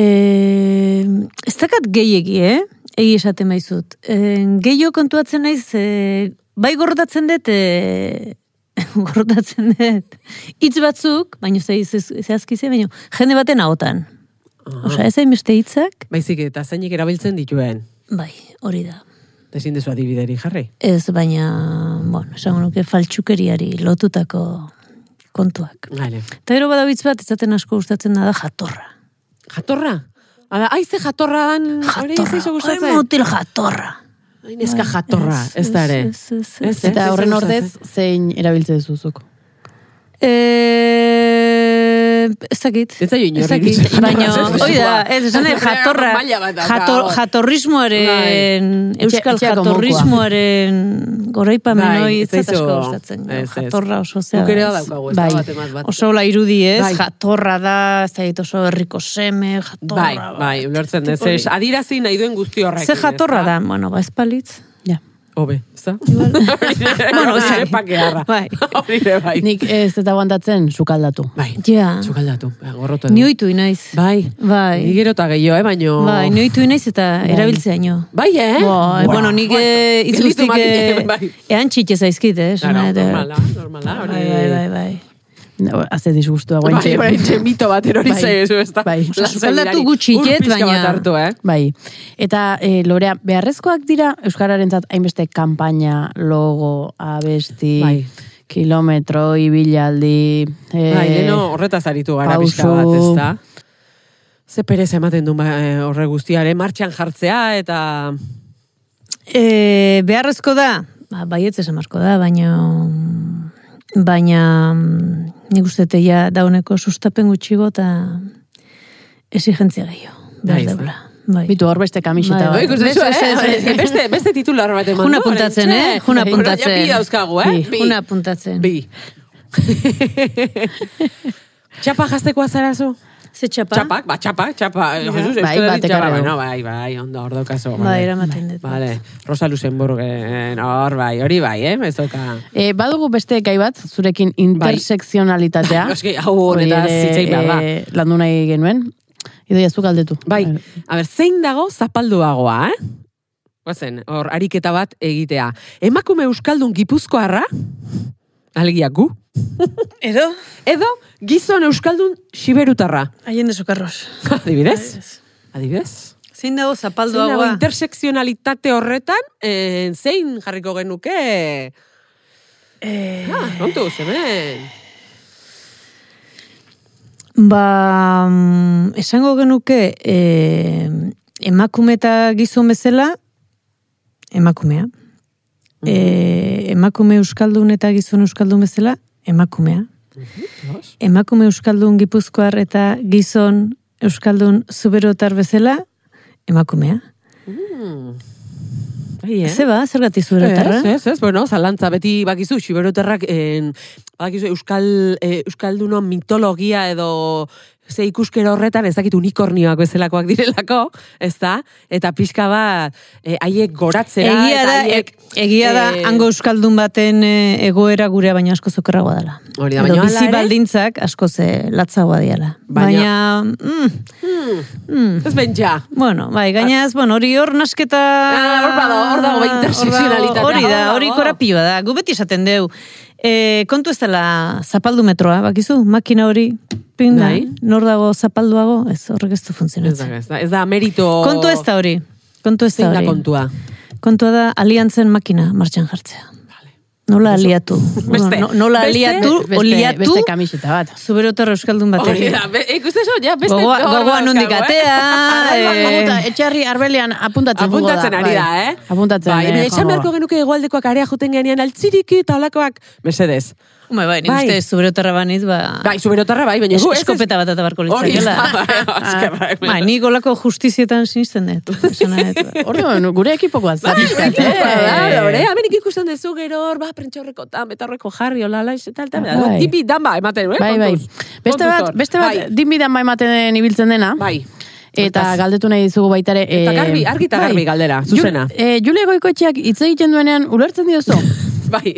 Eh, ez dakat gehiegi, eh? Egi esaten baizut. Eh, gehiago kontuatzen naiz, eh, bai gorrotatzen dut, eh, *laughs* gorrotatzen dut, hitz batzuk, baina ze, ze, zehazki ze, baina jende baten ahotan. Osa, ez beste hitzak,
Baizik eta zeinek erabiltzen dituen.
bai, hori da.
Ezin dezu adibideri jarri.
Ez, baina, bueno, esango nuke faltsukeriari lotutako kontuak.
Vale.
Eta gero badabitz bat, ezaten asko gustatzen da da jatorra.
Jatorra. Hala, aize jatorra dan, hori ez iso
Jatorra, oi
gustatzen.
mutil jatorra.
Ai, Neska jatorra, ez da ere.
Ez, ez, ez,
Ez, ez,
Eta
ez
horren
gustatzen.
ordez, zein erabiltze duzuzuk.
Eh, ez dakit.
Ez zaio inori
Ez dakit,
iruditzen.
baina, hoi da, ez, esan nahi, jatorra,
Maila bat dauka,
jator,
hor.
jatorrismoaren,
Bai.
euskal
Etxe- etxeako
jatorrismoaren goraipamen
Bai,
hoi, ez
ez
zait asko
zaizu-
gustatzen.
ez, ez.
Jatorra oso zea.
Guk ere
da, ez.
badaukagu, ez
Bai.
da bat emaz bat.
Oso hola irudi ez,
Bai.
jatorra da, ez da dit oso herriko seme, jatorra. ba.
Bai, bai, ulertzen dez, ez, adirazi nahi duen guzti horrekin.
Ze jatorra da, bueno, ba, ez palitz.
Ja.
Obe, ez *laughs* da? Bueno, ez da.
bai.
pakearra.
Bai.
Hori ere bai.
Nik ez eta guantatzen sukaldatu.
Bai,
Ja.
txukaldatu, gorrotu.
Ni oitu inaiz.
Bai,
Bai.
Ni gero eta gehiago, eh, baino...
Bai, ni oitu inaiz eta erabiltzeaino.
Bai, eh?
Bai, bueno, nik
*laughs*
eh, hitz
Gelditu
guztik
makinen,
eh,
*laughs* bai.
ean txitxe zaizkit, eh? esan
Claro,
nahi dut.
normala, normala, hori.
Bai, bai, bai, bai.
No, Haze disgustua
Bai,
guantxe.
bai, oraintxe mito bat erori
Bai.
zaizu, ez da?
Bai.
Lasai
Sukaldatu
birari.
gutxi
Ur
jet,
pixka
baina-
bat hartu, eh?
Bai. Eta e, lorea, beharrezkoak dira Euskararentzat hainbeste kanpaina, logo, abesti,
Bai.
kilometro, ibilaldi... E,
Bai, leno horretaz aritu gara
pausu.
pixka bat, ez da? Ze perez ematen du ba, eh, horre guztiare, martxan jartzea, eta... Eh,
E, beharrezko da, ba, baietz esan beharko da, baina baina mm, nik uste dut ja dauneko sustapen gutxigo eta exigentzia gehiago.
Bai,
Behar
ez da.
deula. Bai.
Bitu hor beste kamiseta
Bai,
Bai,
bat.
ikusi
ikustezu,
Ez, ez, ez,
eh?
ez.
Beste, beste titular bat eman.
Juna
du,
puntatzen,
oraintxe.
eh? Juna
Bueno,
puntatzen.
*laughs* Ja Bai, bi dauzkagu, eh?
Bi.
Bi.
Una puntatzen.
Bi. Txapa jazteko azarazu?
Ze txapa?
Txapak, ba, txapa, txapa. Eh, Jesus,
Bai,
Euskal Herri
batek
txapa,
arrego.
bueno, bai, bai, ondo, hor daukazu.
Bai, eramaten dut.
Vale, Rosa Luxemburgen, hor bai, hori bai, eh, ez dauka.
E, badugu beste gai bat, zurekin
*laughs*
intersekzionalitatea.
Bai. Noski, hau honetaz
Hori ere,
hitzein behar da.
e, landu nahi genuen. Idoia, zuk galdetu. Eh,
Bai, a ber, zein dago zapalduagoa, eh? Goazen, hor, ariketa bat egitea. Emakume Euskaldun gipuzkoarra, alegia gu,
Edo?
edo gizon Euskaldun siberutarra.
Haien desokarros.
Adibidez? Adibidez?
Zein dago
Zein dago
zapaldoagoa?
intersekzionalitate horretan, eh, zein jarriko genuke?
Eh,
Ah, kontuz, hemen.
Ba, mm, esango genuke eh, emakume eta gizon bezala, emakumea. Eh, emakume euskaldun eta gizon euskaldun bezala, emakumea.
Nos?
Emakume euskaldun gipuzkoar eta gizon euskaldun zuberotar bezala, emakumea.
Bai, eh?
Ze ba, zergatik zuberotarra?
Ez, ez, ez, bueno, zalantza beti bakizu, siberoterrak, en, bakizu, euskal, e, euskaldunon mitologia edo ze ikuskero horretan ez dakit unikornioak bezalakoak direlako, ez da? Eta pixka bat, eh, haiek goratzera,
Egia
eta
da,
haiek...
e- egia da
eh,
hango euskaldun baten eh, egoera gurea baina asko zokerragoa dela.
Hori da,
Edo
baina hala
bizi
ere-
baldintzak asko ze latzagoa diala.
Baina-
Baina, mm,
Ez bentsa.
bueno, bai, gainaz, bueno, hori hor nasketa...
Ah, hor badago, hor dago, bai,
Hor
interseksionalitatea,
Hori da,
hor dago.
hori korapioa da, gu beti esaten deu. E, kontu ez dela zapaldu metroa, bakizu, makina hori, pinda,
Bai.
nor dago zapalduago, ez horrek ez
Ez
du
da,
funtzionatzen.
ez da, ez da merito...
Kontu ez da hori, kontu ez da
Zein da
hori.
kontua.
Kontua da, aliantzen makina martxan jartzea. Nola aliatu.
Beste.
No, nola
Beste.
aliatu,
Beste,
oliatu,
beste kamiseta bat.
zuberotar euskaldun batek.
Hori da, be- ikustezu, ja, beste...
Gogoa-
hor
gogoan
dauzkagu,
nondik
eh?
atea,
Arraiba
eh,
Ah, Apunta, etxarri arbelean apuntatzen joango
Apuntatzen ari da,
bai.
eh?
Apuntatzen.
Bai,
eh,
baina esan
joango
beharko
da.
genuke hegoaldekoak area joten genean altziriki eta olakoak. Mesedez.
Ba, bai, nik
Bai.
uste zuberotarra banitz, ba...
Bai, zuberotarra bai, baina
es-
gu ez-
eskopeta bat atabarko
Hori da,
litzakela.
*laughs* bai, azken bai,
Ba, nik olako justizietan sinisten dut. *laughs* esan nahi dut. bai.
Orduan, gure ekipokoa eh?
Bai, bai,
zapiskat,
bai, bai,
eh?
bai, hemen ikusten dezu gero, hor, ba, prentxorreko tam, eta horreko jarri, olala, eta eta, eta,
Bai.
tipi damba, ematen, eh,
Bai, bai.
kontuz.
Beste
Kontuz
bat,
hor.
beste bat,
Bai,
dinbidan bai maten ibiltzen dena.
bai.
Eta galdetu nahi dizugu baita ere...
Eta
eh,
garbi, argi eta
bai.
garbi galdera,
Ju-
zuzena.
eh, Julia Goikoetxeak hitz egiten duenean ulertzen diozu.
*laughs* Bai.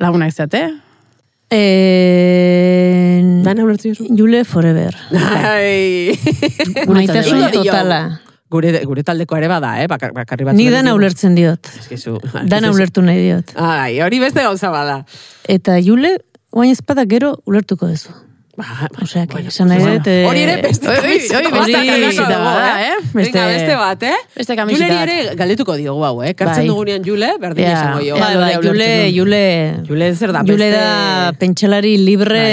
Lagunak zeate.
Eh,
Dana ulertzen duzu?
Jule forever.
Ai.
Maitasun
bai.
totala.
Gure, gure taldeko ere bada, eh? Bakar, bakarri bat.
Ni dana ulertzen diot.
*laughs* Eskizu.
Dana ulertu nahi diot.
Ai, hori beste gauza bada.
Eta Jule, guain ezpada gero ulertuko duzu.
Ba, ba,
Osea, que esan nahi dut... eh,
Hori ere beste
Oi, oi,
kamiseta
oi,
bat
beste kamiseta
dakarrako dugu,
bat da, eh? Beste-
Venga, beste bat, eh?
Beste kamiseta
Juleri ere galdetuko diogu hau, eh? Kartzen
Bai.
dugunean Jule, berdin
Ja.
esango jo.
Ja,
Bai, bai,
Julia
Jule,
ulertzen
Jule...
Jule zer da,
Jule
beste- Bai.
da pentsalari libre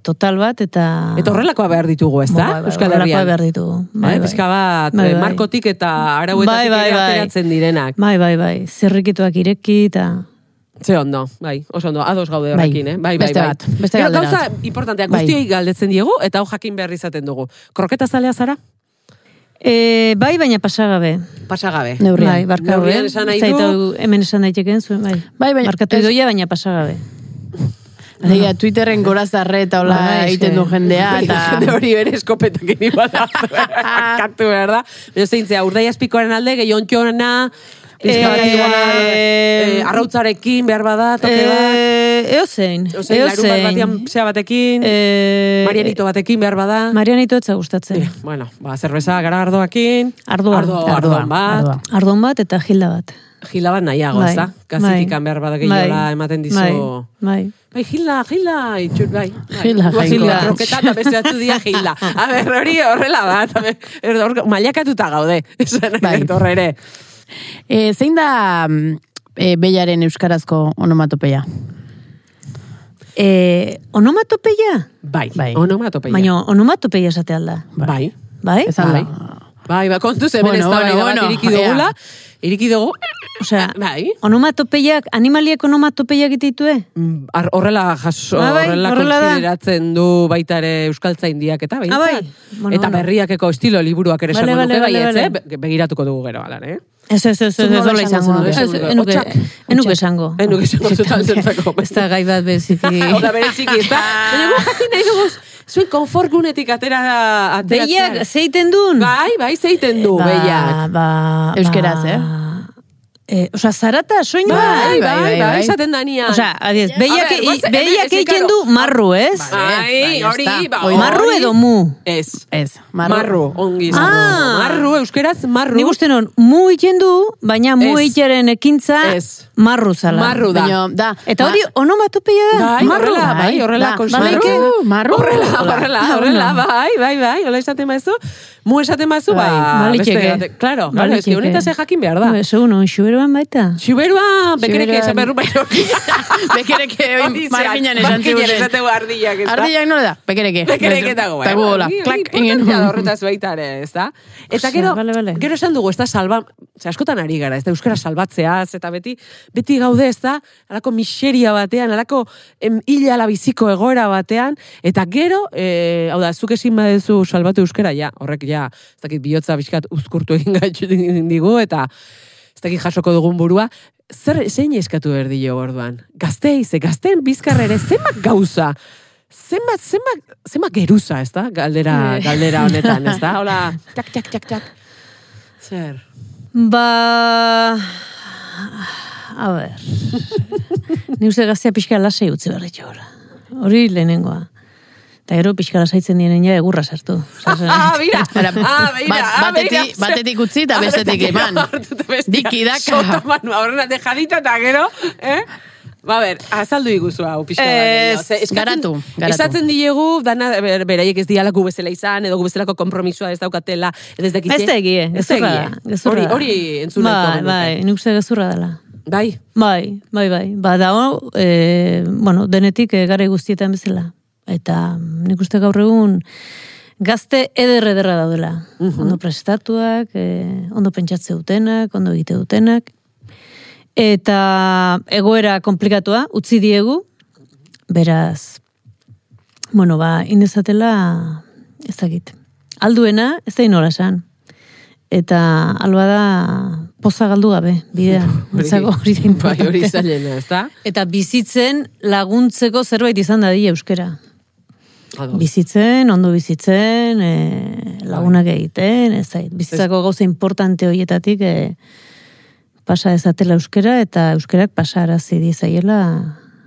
total bat, eta...
Eta horrelakoa behar ditugu, ez da?
Bai, bai,
Euskal
horrelakoa
Herrian.
behar ditugu. Bai,
eh?
bai.
Pizka bat, eh,
Bai, bai.
markotik eta arauetatik
Bai, bai,
ere
bai.
ateratzen direnak.
Bai, bai, bai, zerrikituak ireki, eta...
Ze ondo, bai, oso ondo, ados gaude
Bai.
horrekin, eh? Bai, bai,
Beste
bai.
bat, beste
Gero,
galdera
gauza
bat.
importantea,
Bai.
guztiei galdetzen diegu, eta hau jakin behar izaten dugu. Kroketa zalea zara?
E, bai, baina pasagabe.
Pasagabe.
Neurrian.
Bai, barkau,
Neurrian
eh?
esan nahi
Zait,
du.
hau hemen esan daitekeen zuen, bai.
Bai, baina-
Markatu
ez-
idoia, baina pasagabe.
Bai.
Alegia, Twitterren gorazarre eta hola
Bai,
egiten
ze.
du jendea,
*laughs*
eta...
Jende hori bere eskopetak egin bat
*laughs*
Katu, berda? Baina zeintzea, urdai azpikoaren alde, gehiontiona,
Bizkaia,
eh,
eh,
arrautzarekin behar bada, toke bat.
E, eozein.
Ozein, larun bat batean, zea batekin,
Eh,
Marianito batekin behar bada.
Marianito etza gustatzen.
Eh, bueno, ba, zerbeza, gara ardoakin.
Ardoa.
Ardo,
Ardoa,
ardoan bat.
ardoa.
Ardon bat eta gilda bat.
Gila bat nahiago, ez da? Kazitikan behar bada gehiola ematen dizu.
Bai, bai.
Bai, gila, gila, itxur, bai. bai.
Gila, jainkoa.
Bai, gila, Kroketa eta beste batzu dira gila. A ber, hori horrela da, eta ber, hor- mailakatuta gaude. Esan
Bai.
bai. horre ere.
E, zein da mm, e, beiaren euskarazko onomatopeia?
E, onomatopeia?
Bai,
Bai.
onomatopeia.
Baina onomatopeia esate alda.
bai.
Bai?
Ez alda.
Bai, ba, kontuz hemen
Bueno,
ez da hori
bueno,
bat
bueno,
iriki dugula. Iriki dugu,
Osea,
bai.
onomatopeiak, animaliek onomatopeiak ditue?
Mm, ar- Horrela jaso,
Ba, bai,
horrela,
horrela da.
konsideratzen du baita ere euskaltzaindiak eta behintzat.
Ah, bai. Bueno,
eta
bueno.
berriakeko estilo liburuak ere
Bale,
esango
bale,
nuke
bale,
baietz,
bale.
eh? Be- Begiratuko dugu gero, alan, eh?
Ez, ez, ez, ez,
Zunola
ez, hola
izango
izango.
da,
Ez,
esango da.
enuke,
Hotxak.
enuke esango.
*laughs* Enuke esango, zutan
*laughs*
zertzako.
Ez da gai bat
*laughs*
beziki.
Hora bereziki, ez da? Baina guk jakin nahi dugu, zuen konforgunetik atera ateratzea.
Behiak, zeiten dun?
Bai, bai, zeiten du,
Ba,
behiak.
ba,
Euskeraz, eh?
eh? Osa, zarata, soinua.
Bai, bai, bai,
bai.
esaten danean.
Osa, adiez,
A
behiak,
ber, goazen,
behiak
hemen,
egiten
karo.
du marru, ez?
Bai,
Bai,
hori,
ez da.
ba,
Hoi.
hori.
Marru edo mu?
Ez.
Ez, marru.
Marru, ongi. izan
Ah.
du. Marru, euskeraz, marru.
Nik uste non, mu egiten du, baina mu
Ez.
egitearen ekintza
Ez.
marru zala.
Marru da.
Baina, da.
Eta
ma- *laughs*
hori onomatopeia da.
Bai,
marru.
horrela, bai, horrela,
da.
konsumatzen.
Marru, marru.
Horrela,
Hola.
horrela,
Ah,
horrela,
bueno.
bai, bai, bai, hola esaten bazu, mu esaten bazu, ba,
Bai, baliteke.
beste, bate- claro, claro, eski,
Baliteke.
honetaz jakin behar da.
Ba, Eso, no, xuberoan baita.
Xiberua, bekereke
Xiberuan.
esan berru baino.
Bekereke,
*laughs* Hori zean,
marginan esan
marginan
ziguten.
esaten du ardillak, ez da?
Ardiak nola da? Bekereke.
Bekereke dago,
Eta gu hola,
Hori- hori
klak,
importantea
ingen.
da horretaz baita ere, ez da? Eta
Osea,
gero,
bale, bale.
gero esan dugu, ez da salba, ze askotan ari gara, ez da euskara salbatzeaz, eta beti, beti gaude, ez da, alako miseria batean, alako em, hilala biziko egoera batean, eta gero, e, hau da, zuk ezin badezu salbatu euskara, ja, horrek ja, ez dakit bihotza bizkat uzkurtu egin *laughs* gaitu digu, eta ez dakit jasoko dugun burua, zer zein eskatu behar dio orduan? Gaztei, ze gazteen bizkarra ere zenbat gauza, zenbat, zenbat, zenbat geruza, ez da? Galdera, galdera honetan, ez da? Hola, txak, txak, txak, txak. Zer?
Ba... A *laughs* ber... Ni uste gaztea pixka lasai utzi behar ditu hori. Hori lehenengoa. Eta gero pixka lasaitzen diren ja egurra sartu.
*laughs*
Ah, bira!
Ara,
Ah,
bat-
bira! ah, bira.
ba- batetik- batetik utzi
*laughs*
eta bestetik
Horretan,
eman.
horretan bestea.
Diki daka.
Soto manu, horrena tejadita eta gero, eh? Ba, ber, azaldu iguzu hau pixka bat.
Ez,
gehiago. Ze, eskatzen-
garatu, garatu.
Esatzen diegu, dana, ber- beraiek ez diala gu bezala izan, edo gu bezalako kompromisoa ez daukatela, edo ez dakite.
Ez da egie,
Ez da
gezurra da.
egie.
gezurra
Hori,
da.
hori entzun nahiko
Bai,
genuke.
bai, nik uste gezurra dela.
Bai,
Bai, bai, bai. Ba, da, e, bueno, denetik e, gara guztietan bezala. Eta nik uste gaur egun gazte eder ederra daudela. Ondo prestatuak, e, ondo pentsatze dutenak, ondo egite dutenak. Eta egoera komplikatua, utzi diegu, beraz, bueno, ba, indezatela, ez dakit. Alduena, ez da inola esan. Eta alba da poza galdu gabe, bidea.
*laughs* Hori-
Netzako hori da
bai, hori
importantea.
zailena, ez da?
Eta bizitzen laguntzeko zerbait izan dadila euskera.
Ados.
Bizitzen, ondo bizitzen, e,
Bai.
lagunak egiten, ez zait. Bizitzako gauza importante horietatik e, pasa ezatela euskera eta euskarak pasarazi dizaiela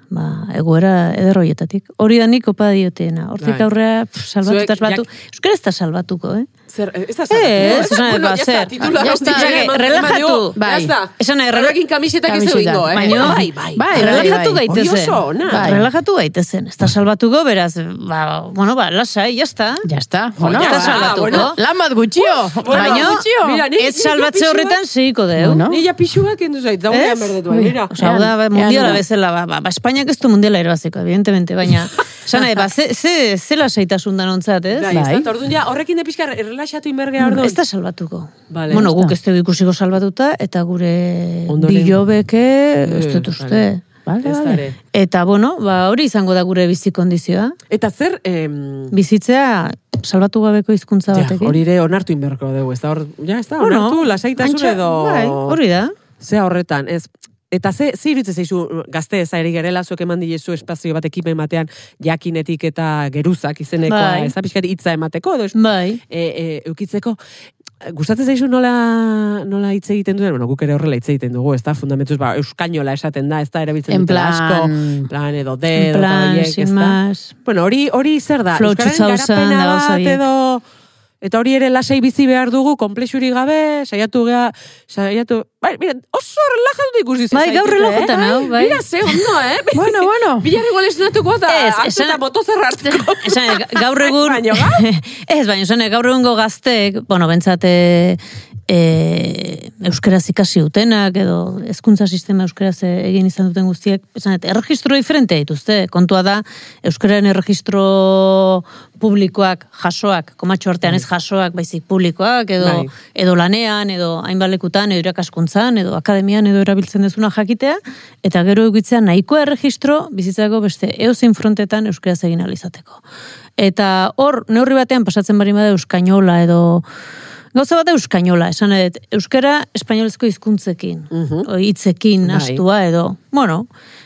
ba, egoera eder horietatik. Hori da nik opa diotena. Hortik
Bai.
aurrera pff, salbatu
Zuek
eta salbatu.
jak-
Euskara ez da salbatuko, eh?
Zer, ez da
Ez,
salatu.
ez,
Ez,
esan
bueno,
nahi,
ya
ba,
está,
zer.
titular
Ya
hausti
está,
ere
que
eman-
relajatu.
eman digu.
Bai.
Ya está.
Esan nahi, rela-
Horrekin kamisetak ez du
Kamiseta.
ingo, eh?
Baina-
bai, bai.
Bai,
relajatu
bai, bai.
gaitezen.
Hori oso ona.
Bai.
Relajatu gaitezen. Ez da salbatuko, beraz, ba, bueno, ba, lasai, jasta.
Ja está,
Jo,
bueno,
ya
ba.
está salbatuko.
Bueno, Lan bat gutxio,
bueno,
baina gutxio.
mira, ni-
ez salbatze
pixu bat-
horretan segiko deu.
Bueno.
Ni ja pixu bat kendu zait, da gurean
Ez?
berdetua, mira.
Osa, hau da, ba,
Ean, ean,
mundiala
ean.
bezala, ba, ba, ba, Espainiak ez du mundiala erabaziko, evidentemente, baina,
*laughs*
esan nahi, ba, ze, ze, ze lasaitasun da nontzat, ez? Ba,
Bai,
Bai.
ez da, orduan ja, horrekin da pixka erlaxatu inbergea orduan.
Ez da salbatuko.
Vale,
bueno,
ez
guk ez dugu ikusiko salbatuta, eta gure
Ondoren.
bilobeke, ez dut
Eh,
uste.
vale.
Bale,
Ez
bale.
are.
Eta, bueno, ba, hori izango da gure bizi kondizioa.
Eta zer, em,
Bizitzea salbatu gabeko hizkuntza
ja,
batekin.
hori ere onartu inberko dugu, ez da hor, ja, ez da,
Bueno,
onartu, lasaitasun
antxa-
edo...
Bai, hori da.
Zea horretan, ez, Eta ze, ze iruditzen zaizu gazte ezari gerela zuek eman dilezu espazio bat ekipen batean jakinetik eta geruzak izenekoa,
Bai.
ez da pixkat hitza emateko edo es-
Bai.
e, e, eukitzeko gustatzen zaizu nola nola hitz egiten duen, bueno, guk ere horrela hitz egiten dugu, ez da, fundamentuz, ba, euskainola esaten da, ez da, erabiltzen
En
dutela
plan-
asko, plan edo de,
En
edo
plan,
horiek,
sin
ez da.
más.
Bueno, hori, hori zer da,
Flow
Euskararen
2000
garapena
da gauza
bat
horiek.
edo, eta hori ere lasai bizi behar dugu, komplexuri gabe, saiatu gea, saiatu, bai, mira, oso relajatu ikusi
Bai, gaur
zaituzte,
relajatan hau, bai.
Mira, ze ondo,
*laughs*
eh?
Bueno, bueno.
Bilar igual esnatuko eta
Ez,
hartu eta
esan-
boto zerrartuko.
Esan, eh, ga- gaur egun...
Baino,
*laughs* ez, baina, esan, eh, gaur egungo gaztek, bueno, bentsate e, euskeraz ikasi dutenak, edo hezkuntza sistema euskeraz e- egin izan duten guztiek, esan, eta erregistro diferentea dituzte. Kontua da, euskeraren erregistro publikoak, jasoak, komatxo artean ez jasoak, baizik publikoak, edo,
Bai.
edo lanean, edo hainbalekutan, edo irakaskuntzan, edo akademian, edo erabiltzen dezuna jakitea, eta gero egitzea nahikoa erregistro bizitzako beste eozein frontetan euskaraz egin ahal izateko. Eta hor, neurri batean pasatzen bari bada euskainola edo Gauza bat da euskainola, esan edet, euskara espainolezko hizkuntzekin,
Mhm.
o hitzekin
Bai.
astua edo. Bueno,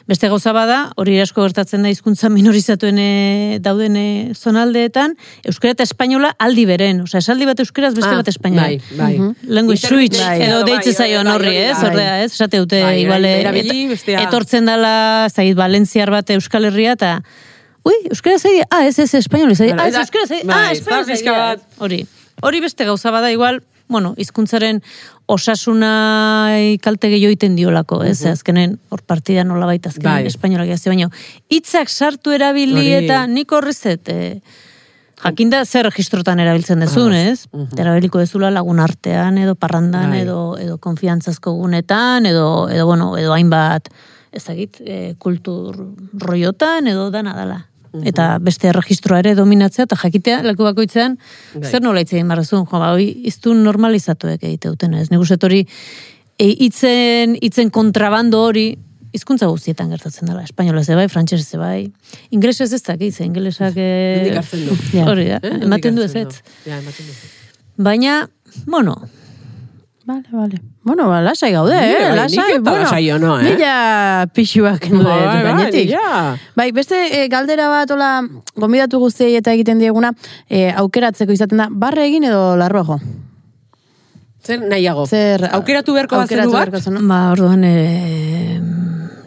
beste gauza bada, hori asko gertatzen da hizkuntza minorizatuen eh, dauden eh, zonaldeetan, euskara eta espainola aldi beren, osea, esaldi bat euskaraz beste
Ah,
bat espainola.
Bai, bai.
Mhm.
Lengu switch,
Bai.
edo
Bai,
deitzen
bai,
zaion
bai,
horri,
hori
ez?
da.
Ordea, ez? Esate dute,
Bai,
iguale,
erabili,
et-
bestea.
etortzen dala, ez dakit, Valentziar bat Euskal Herria, eta, ui, Euskara zei, ah, ez, ez, Espainol, zei,
Bai,
ah, ez,
da-
Euskara zei, ah,
bai,
Espainol,
da pixka bat.
Hori, hori beste gauza bada, igual, bueno, hizkuntzaren osasuna kalte gehiago egiten diolako, ez? Azkenen, hor partida nola baita, azkenen,
Mhm. Bai.
espainolak jazte, baina, hitzak sartu erabili
Hori.
eta nik horrezet, eh, Jakinda zer registrotan erabiltzen dezun, ez? Erabiliko dezula lagun artean edo parrandan
Mhm. Bai.
edo edo konfiantzazko gunetan edo edo bueno, edo hainbat ez dakit, e, kultur roiotan edo dana dala.
Mhm.
Eta beste registroa ere dominatzea eta jakitea leku bakoitzean
Bai.
zer nola hitz egin barrezun, jo, ba, hoi iztun normalizatuek egite duten, ez? Nik uste dut hori e, itzen, itzen kontrabando hori hizkuntza guztietan gertatzen dela. Espainola ze bai, frantsesez bai. Inglesez ez dakit, ze inglesak
*laughs*
eh,
Nondik hartzen du.
Ja.
Hori da,
Eh,
*laughs* ematen du ez
nondik hartzen Ja, ematen du.
Baina, bueno,
Vale, vale. Bueno, ba, lasai gaude,
Ni,
eh?
bai,
lasai,
nik eta
bueno.
lasai ono, eh?
Mila pixuak
Bai,
nude
bai,
gainetik.
ja.
Bai, beste eh, galdera bat, hola, gomidatu guztiei eta egiten dieguna, eh, aukeratzeko izaten da, barre egin edo larroa jo?
Zer nahiago?
Zer,
*laughs* aukeratu beharko bazenu
aukeratu
bat?
beharko zenu?
ba, orduan, e,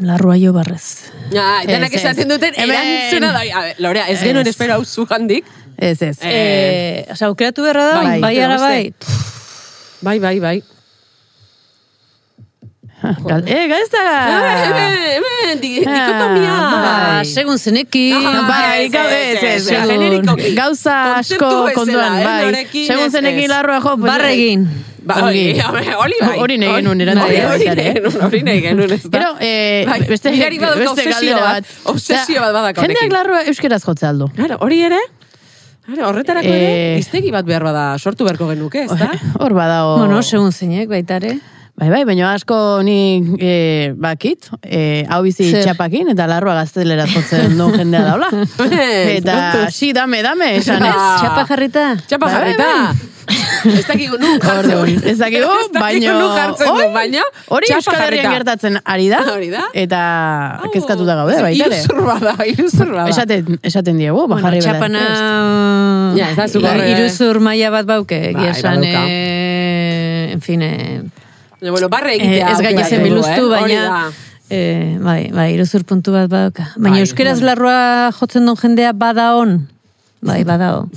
larrua jo barrez.
Ja, denak
Ez, ez.
esaten duten,
Hemen-
erantzuna da. A ber, Lorea, ez genuen
Ez.
espero hau zugandik.
Ez, ez.
Eh,
E, Osa, aukeratu beharra da,
bai,
bai, bai,
pero
ara, bai.
beste. Bai, bai, bai.
Gal- Eh, ez
*laughs*
da!
Ah, Hemen, hemen, di-
Ah,
dikotomia.
bai.
Ba, segun zeneki.
Ah,
Bai, gau- ez, ez,
Segun-
generikoki.
Gauza asko
Kontzeptu bezala,
konduan,
eh,
bai.
norekin,
Segun
ez, ez.
zenekin larroa jo, pues,
Bai. Barre egin.
Ba, hori, hori bai.
Hori nahi genuen erantzuna
Hori- Hori
baita ere.
nahi genuen, hori nahi genuen, ez da.
Gero, eh,
Bai,
beste,
mirari badauka
beste
obsesio
galdera
bat,
bat.
obsesio
Osea,
bat badauka honekin.
Jendeak larroa euskeraz jotzea aldu.
Claro, hori ere, claro, horretarako ere,
Eh.
iztegi bat behar bada sortu beharko genuke, ez da?
Hor badao.
Bueno, segun zeinek, baitare.
Bai, bai, baina asko ni eh, bakit, eh, hau bizi
Zer?
txapakin, eta larroa gaztelera jotzen du jendea
*laughs*
daula.
Ez,
eta,
kontuz.
si, dame, dame, esan ez.
Ah.
Txapa jarrita.
Txapa
Bai, bai,
jarrita. Ez dakigu nun jartzen
Orduan,
duen.
ez
*laughs*
dakigu, baino...
nun jartzen
hori-
duen, baina...
Hori
txapa
Euskal Herrian
jarrita.
gertatzen ari da.
Hori da.
Eta
Au,
kezkatuta gaude, baita ere.
Iruzurra da, iruzurra da.
Esaten, esaten diegu, ba,
Bueno,
jarri bera.
txapana...
Ja, ez da zu
i-
gorre.
Iruzur maila bat bauke,
Bai,
egia esan,
badauka.
eh, en fin, eh,
Baina, bueno, barre
Eh,
egitea.
ez gaina
aukeratu
zen
du,
biluztu,
eh? Hori
baina... Eh, bai, bai, iruzur puntu bat badauka. Baina
Bai,
euskeraz
bueno.
larrua jotzen duen jendea bada on. Bai, badao.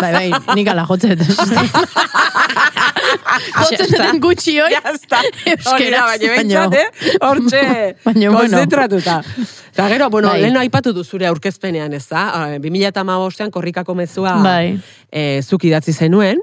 Bai, bai, nik ala jotzet.
*laughs*
jotzen duten gutxi hoi.
Ja, ez da. Hori da,
Euskeraz,
baina
baino-
behintzat, eh? Hortxe,
Baina, bueno.
konzentratuta. Eta gero, bueno,
Bai.
lehen aipatu du zure aurkezpenean, ez da? Eh, 2008an korrikako mezua
Bai.
eh, zuk idatzi zenuen,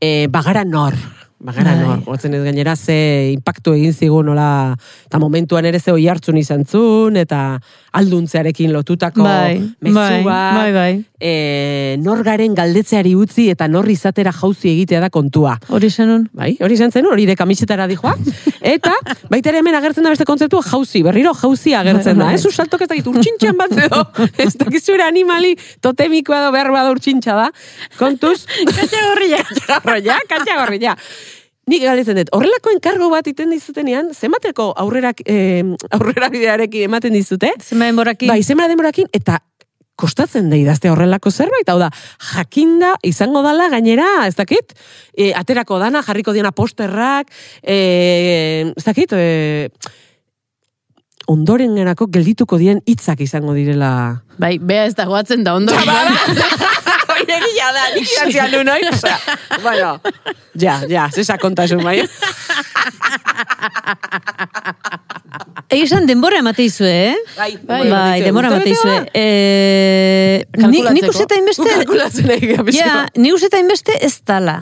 eh, bagara nor. Bagara,
Bai.
no, gotzen ez gainera ze impactu egin zigun nola, eta momentuan ere ze oi hartzun izan zun, eta alduntzearekin lotutako
Bai,
mezu
bai,
bat,
bai, bai.
E, nor garen galdetzeari utzi eta nor izatera jauzi egitea da kontua.
Hori zenun.
Bai, hori izan zen, hori de kamisetara dijoa. Eta, baita ere hemen agertzen da beste kontzeptua jauzi, berriro jauzi agertzen da. Ez usaltok ez dakit urtsintxan bat edo, ez dakit zure animali totemikoa edo behar bada urtsintxa da. Kontuz, *laughs*
Horria.
katxagorria, katxagorria. Nik galdetzen dut, horrelako enkargo bat iten dizutenean, zemateko aurrerak, eh, aurrera bidearekin ematen dizute?
Zema enboraki.
Bai, zenbara denborakin, eta kostatzen da idazte horrelako zerbait, hau da, jakinda izango dala gainera, ez dakit, e, aterako dana, jarriko diana posterrak, e, ez dakit, e, ondoren gerako geldituko dien hitzak izango *laughs* direla.
Bai, bea ez dagoatzen da ondo.
bai. Oiegia da, nik idatzean du *laughs* noi, osea, bueno, ja, ja, zesa kontasun, bai.
Egi esan denbora emate izue, eh?
Bai,
Bai, denbora emate
Urtebetea
izue.
da.
Eh, ni, nik
Kalkulatzeko.
uste eta
Guk
inbeste...
kalkulatzen ari gara pixka
Ja,
bat.
ni uste eta inbeste ez dala.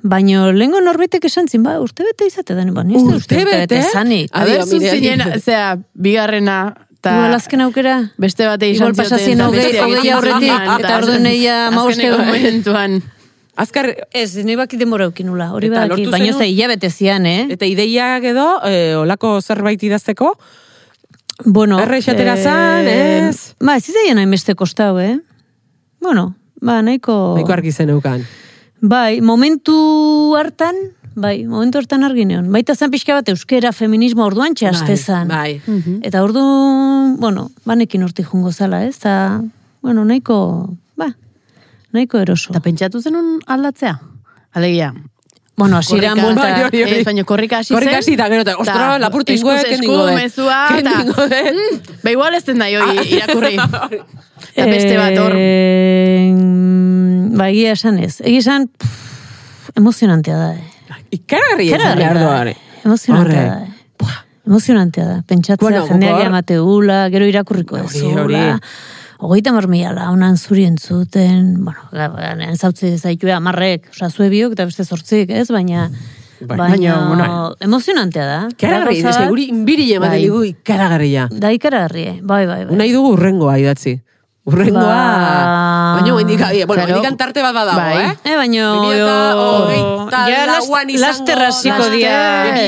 Baina lehenko norbaitek esan zin, ba, urte bete izate da, ba, nizte urte
Urtebete?
bete zanik.
A
A
ber,
ber,
mire,
zuzinen,
mire.
zea, bigarrena, eta
Igual azken aukera.
beste bate izan
Igual pasa
zioten,
zien
eta
hogei-
besteak
hogei
izan
aurretik,
zirenean,
eta orduan eia hamaboste-
azkeneko momentuan.
Azkar,
Ez, ni baki denbora eukin nula, hori
Eta
badaki,
lortu
baina
zenuen-
ez da hilabete zian, eh?
eta ideiak edo, eh, olako zerbait idazteko,
Oh. Bueno,
Erre esatera zan, ez?
Ba, ez izaien hainbeste kostau, eh? Bueno, ba, nahiko...
Nahiko argi zeneukan.
Bai, momentu hartan, bai, momentu hartan argi neon. Baita zen pixka bat euskera, feminismo orduan txaste zan.
Bai.
Eta ordu, bueno, banekin urti jungo zala, ez? Ta, bueno, nahiko, ba, nahiko eroso.
Eta pentsatu zenun aldatzea? Alegia,
bueno, hasieran
Korrika.
bulta.
Bai, hori, hori.
Ez, baina korrika hasi zen.
Korrika hasi eta gero eta, ostra, lapurtu ingoe,
eskuz
kendingo
esku
de.
mezua,
*laughs* Kendingo de.
eta... Mm, ba, igual ez den da joi
Ah. *laughs*
irakurri. Eta beste bat hor.
Eh, ba, egia esan ez. Egia esan, pff, emozionantea da, eh?
Ikaragarri ez
Ikaragarria
behar
da.
du hori.
Emozionantea da. eh. Emozionantea da. Pentsatzea
Bueno,
jendeak
gogor.
jamate gula, gero irakurriko ez
Hori, hori.
gula. Ogeita marmila launan zuri entzuten, bueno, ganean zautzi zaitue amarrek, osa zue biok eta beste zortzik, ez? Baina,
Bai. Bueno,
baina,
baina, bueno.
emozionantea da.
Ikaragarri,
Da Ba, gauza
ez
bat,
guri inbiri ematen
Bai.
digu ikaragarria.
Da ikaragarri, eh. bai, bai, bai.
Nahi dugu urrengoa idatzi. Urrengoa.
Ba.
Baina, hendik, eh, bueno,
Claro.
hendik tarte bat badago,
Bai.
eh?
Eh, baino, jo, ja last- laster hasiko
dia.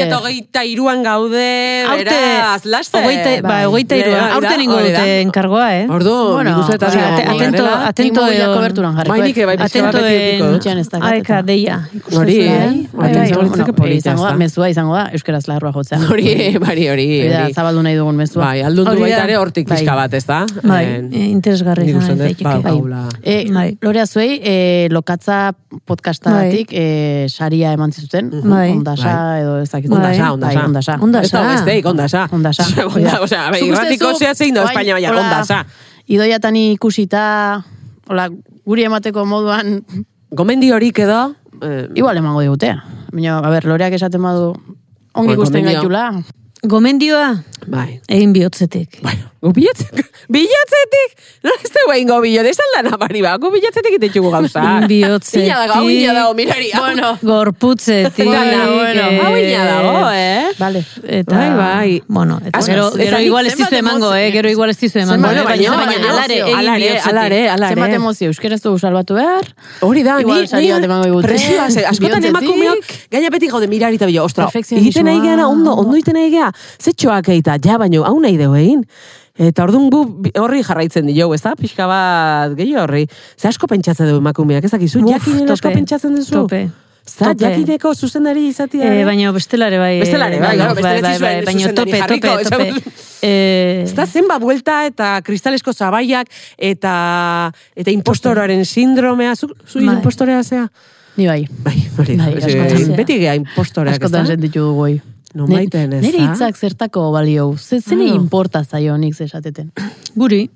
Eta hogeita iruan gaude, beraz, laster.
Hogeita, ba, hogeita
Hori
irua.
da,
Aurten ingo
hori da.
dute enkargoa, eh?
Ordu,
Bueno,
nik uste eta
o sea,
digo,
ate-
garela.
atento- atento
Nik mobila
eon.
koberturan jarriko. eh.
Bai, nik ebe, pixka
Atento
bat beti edukiko dut.
Etxean ez dakat,
Aika,
eta.
deia. ikusten
Hori,
zuen,
eh?
eh?
Bai,
Atentzio
bai,
hori
bueno,
zeke polita,
hori izango da,
ezta?
mezua izango da, euskaraz larrua jotzea.
*laughs* Hori, bari, hori.
Hori da,
hori.
zabaldu nahi dugun mezua.
Bai, aldundu
Hori da.
baita ere hortik
Bai.
pixka bat, ez da?
Bai, eh, interesgarri
nik
izan
uste dut,
daiteke.
ba,
Bai.
Paula.
E,
Bai.
Lorea zuei, e, lokatza podcastagatik e, saria eman zizuten,
Bai.
ondasa edo ez dakit. Bai,
Ondasa,
Mhm. ondasa.
bai, ondasa.
Ondasa.
Ez da besteik, *laughs* ondasa.
*laughs* Ondasa.
Onda, osea, bai,
Zuk uste
irratiko
zu,
zea zein da,
orain,
Espainia baina,
hola,
ondasa.
Idoiatani ikusita, hola, guri emateko moduan,
Gomendi horik edo, eh,
igual emango digute. Baina, a ber, loreak esaten badu,
Bai,
ongi gusten
gomendio.
gaitula.
Gomendioa,
bai.
egin bihotzetik.
Gu bilatzetik, *laughs* bilatzetik, no ez dugu ingo bilatzetik, ez aldan apari ba, gu bilatzetik itetxugu gauza.
*laughs* Biotzetik.
Ila Ba, dago, hau ila dago, mirari. Bueno,
Gorputzetik.
Dana, bueno,
eh,
hau ina dago, eh?
Vale.
Eta,
Bai, bai.
Bueno, eta
Asko,
gero,
ez
gero
dakit
igual ez
zenbat
dizu emango,
emozio-
eh? Gero igual ez dizu emango.
Zenbat
eh,
emozio-
baina
baina
alare,
emozio-
egin
alare,
bihotzetik.
alare, alare.
Zenbat emozio, euskeraz dugu salbatu behar.
Hori da,
Igual sari bat emango digute.
presioa,
*laughs*
ze, askotan
Bihontzetik.
emakumeok, gaina beti gaude mirari eta bila, ostra,
Perfekzionismoa.
egiten nahi gara, ondo, ondo egiten nahi gara, zetxoak eita, ja, baino, hau nahi dugu egin. Eta orduan gu bi- horri jarraitzen dio, ez da, pixka bat gehi horri. Ze asko pentsatzen du emakumeak, ez dakizu,
Uf,
jakinen asko
tope,
pentsatzen duzu.
tope,
Za,
tope.
jakineko zuzendari izatea.
Eh, baina bestelare bai. eh,
Bestelare, bai, claro, bestela ez dizuen
Baina
zuzendari
tope, tope,
jarriko,
tope. Eh,
Ez da zenba buelta eta kristalesko zabaiak eta eta impostoroaren sindromea, zu, zu
Bai.
impostorea zea?
Ni bai.
Bai, hori da.
Bai,
Ze-
askotan zea.
beti gea impostoreak, ez da?
Askotan sentitu dugu goi.
No
Ne-
maiten, Ah. ez da?
Nire hitzak zertako balio. Ze, zene
Claro.
importa zaio nik zesateten.
guri.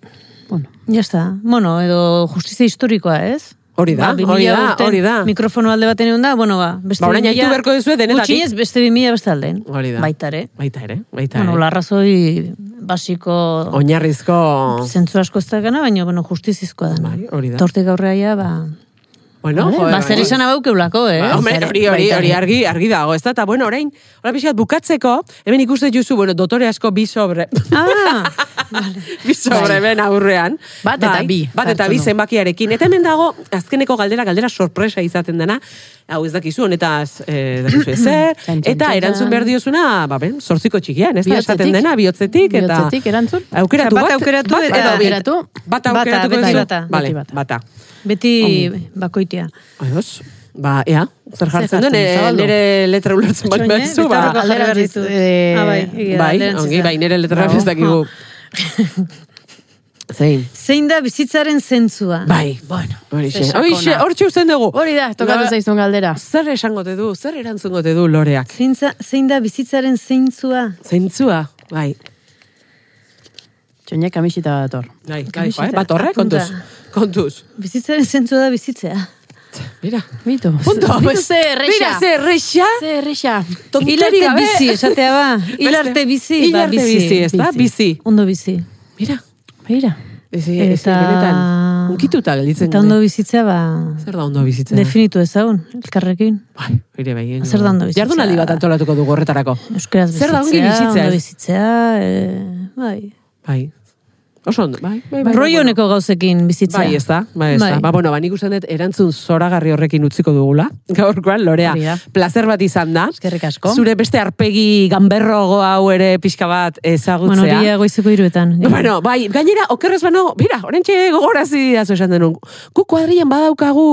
Bueno.
Ya está. Bueno, edo justizia historikoa, ez?
Hori da,
Ba, 2000
hori da,
urten
hori da.
Mikrofono alde baten egon da, bueno, ba. Beste
Ba, orain
2000
aitu beharko duzue denetatik.
Gutxienez beste 2000 beste alden.
Hori da.
Baitare.
Baita ere, baita
Bueno,
ere.
larrazoi basiko
Oinarrizko...
zentzu asko ez da gana, baina, bueno, justizizkoa da.
Bai, hori da.
Tortik aurrea, ja, ba,
Bueno, joder,
ba, zer
bai.
esan abaukeulako, eh?
Ba, hombre,
Zer-
hori, hori,
baita
hori
ere.
argi, argi dago, ez da, eta bueno, orain, hola pixkat bukatzeko, hemen ikusten juzu, bueno, dotore asko bi sobre,
Ah,
*laughs* bi sobre ben aurrean. Bai,
Bat eta bi,
Bat eta
jartzen
bi
du.
zenbakiarekin. Eta hemen dago, azkeneko galdera, galdera sorpresa izaten dena, hau ez dakizu, honetaz, eh, dakizu ezer,
Txan, txan,
eta
txan,
erantzun
txan.
behar diozuna, ba, ben, sortziko txikian, ez da, esaten
Bihotzetik.
dena, bihotzetik, eta...
Bihotzetik erantzun.
Aukeratu
Osea,
bat,
bat aukeratu
bat
eta-
edo bi.
Aukeratu.
Bat
Bata,
aukeratuko
beti
duzu.
bata.
Bale,
Beti
bata.
beti bakoitia.
Ados. Ba, ea, zer jartzen
jartzen
duen,
du,
e,
zabaldu.
nire letra ulertzen bat
Soine,
behitzu, ba.
betaurreko jarri behar dizu.
Alderantziz, eh,
Ah, bai, egia da,
Bai,
alderantziz
ongi,
da.
bai, nire letra
Bravo.
ez dakigu. Zein.
Zein da bizitzaren zentzua?
Bai,
Bueno,
horixe.
ze sakona.
Horixe, hortxe usten dugu.
Hori da, tokatu
Ba,
zaizun galdera.
Zer esango te du, zer erantzungo te du loreak.
Zeintza, zein da bizitzaren zeintzua?
Zeintzua, bai.
Txoinek kamisita bat dator.
Bai, bai,
Kamiseta,
bai, bat horre,
apunta.
kontuz. Kontuz.
Bizitzaren zentzua da bizitzea.
Mira.
Bitu.
Punto.
Bitu ze
Mira,
erreixa.
ze erreixa.
Ze erreixa.
Tontorik
Hilarte
gabe.
bizi, esatea ba. Hilarte bizi.
Hil
ba,
arte bizi, ez da? Bizi.
Ondo bizi.
Mira.
Beira.
Ezi,
Eta-
ezi, benetan. Unkituta gelditzen.
Eta
gaude.
ondo bizitzea ba...
Zer da ondo bizitzen?
Definitu ezagun, elkarrekin.
Bai, ere bai. eh,
Zer da ondo bizitza?
Jardunaldi bat antolatuko dugu horretarako.
Euskaraz bizitzea,
Zer da ongi bizitzea,
ondo
ez?
bizitzea, eh, bai.
Bai. Oso ondo, bai, bai, bai.
Roi
bueno.
honeko gauzekin bizitzea.
Bai, ez da, bai, ez da.
Bai.
Ba, bueno, ba, nik uste dut erantzun zoragarri horrekin utziko dugula. *laughs* Gaurkoan, Lorea,
Hori da.
placer bat izan da.
Eskerrik asko.
Zure beste arpegi ganberrogo hau ere pixka bat
Bueno, eh.
ezagutzea.
hori goizuko iruetan.
*laughs* Bueno, bai, gainera, okerrez bano, bera, orentxe gogorazi dazu esan denun. Gu kuadrian badaukagu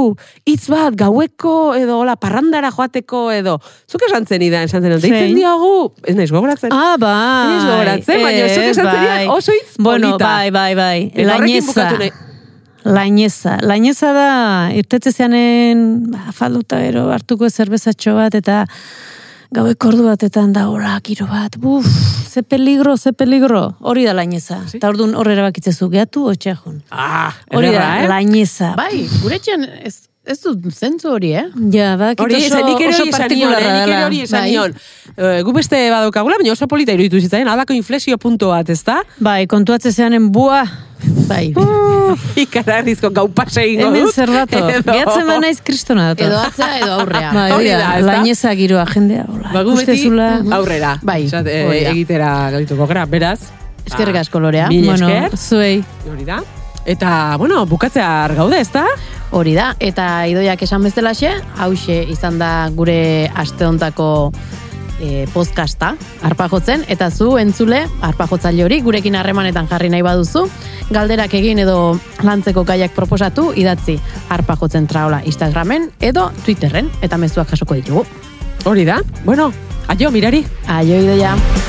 hitz bat gaueko edo hola parrandara joateko edo. Zuk esan zen idan, esan zenun, deitzen
Zein?
diogu, ez naiz gogoratzen.
Ah, bai.
Ez gogoratzen, baina zuk esan
Ez,
zenidan
bai.
oso hitz
Bueno,
polita.
bai, bai, bai.
Eta horrekin
Laineza.
bukatu nahi-
Laineza. Laineza da, irtetzezeanen ba, falduta gero hartuko zerbezatxo bat, eta gaueko ordu batetan da, hola, giro bat, buf, ze peligro, ze peligro. Hori da laineza. Eta orduan horre erabakitzezu, gehatu otxeajun.
Ah,
Hori da,
ederra, eh?
laineza.
Bai, gure etxean ez, ez dut zentzu hori, eh?
Ja, ba,
Hori
oso,
esan, nik ere
oso
hori esan nion, eh,
partikularra
nik ere
dela.
hori esan
Bai.
nion. Eh, Gu beste badaukagula, baina oso polita iruditu zitzaidan, halako inflexio punto bat, ez da?
Bai, kontuatzezeanen bua,
Bai.
*laughs* Ikararizko gau pase egingo dut.
hemen zer dato.
*laughs* Edo-
Gehatzen ba naiz kristona dato.
Edo atzea edo aurrea.
Bai,
Hori
hori
da,
da,
ez da?
laineza giroa jendea, hola,
Ba, gu beti
ikustezula.
aurrera.
Bai,
Esat, eh,
hori da.
egitera galituko gara, beraz.
Eskerrik asko, Lorea.
Mil
Bueno,
esker.
zuei.
Hori da. Eta, bueno, bukatzear gaude, ez da?
Hori da, eta idoiak esan bezalaxe, hause izan da gure asteontako e, podcasta arpajotzen, eta zu entzule arpajotzaile hori gurekin harremanetan jarri nahi baduzu, galderak egin edo lantzeko gaiak proposatu idatzi arpajotzen traola Instagramen edo Twitterren, eta mezuak jasoko ditugu.
Hori da. Bueno, aio, mirari.
Aio idoia!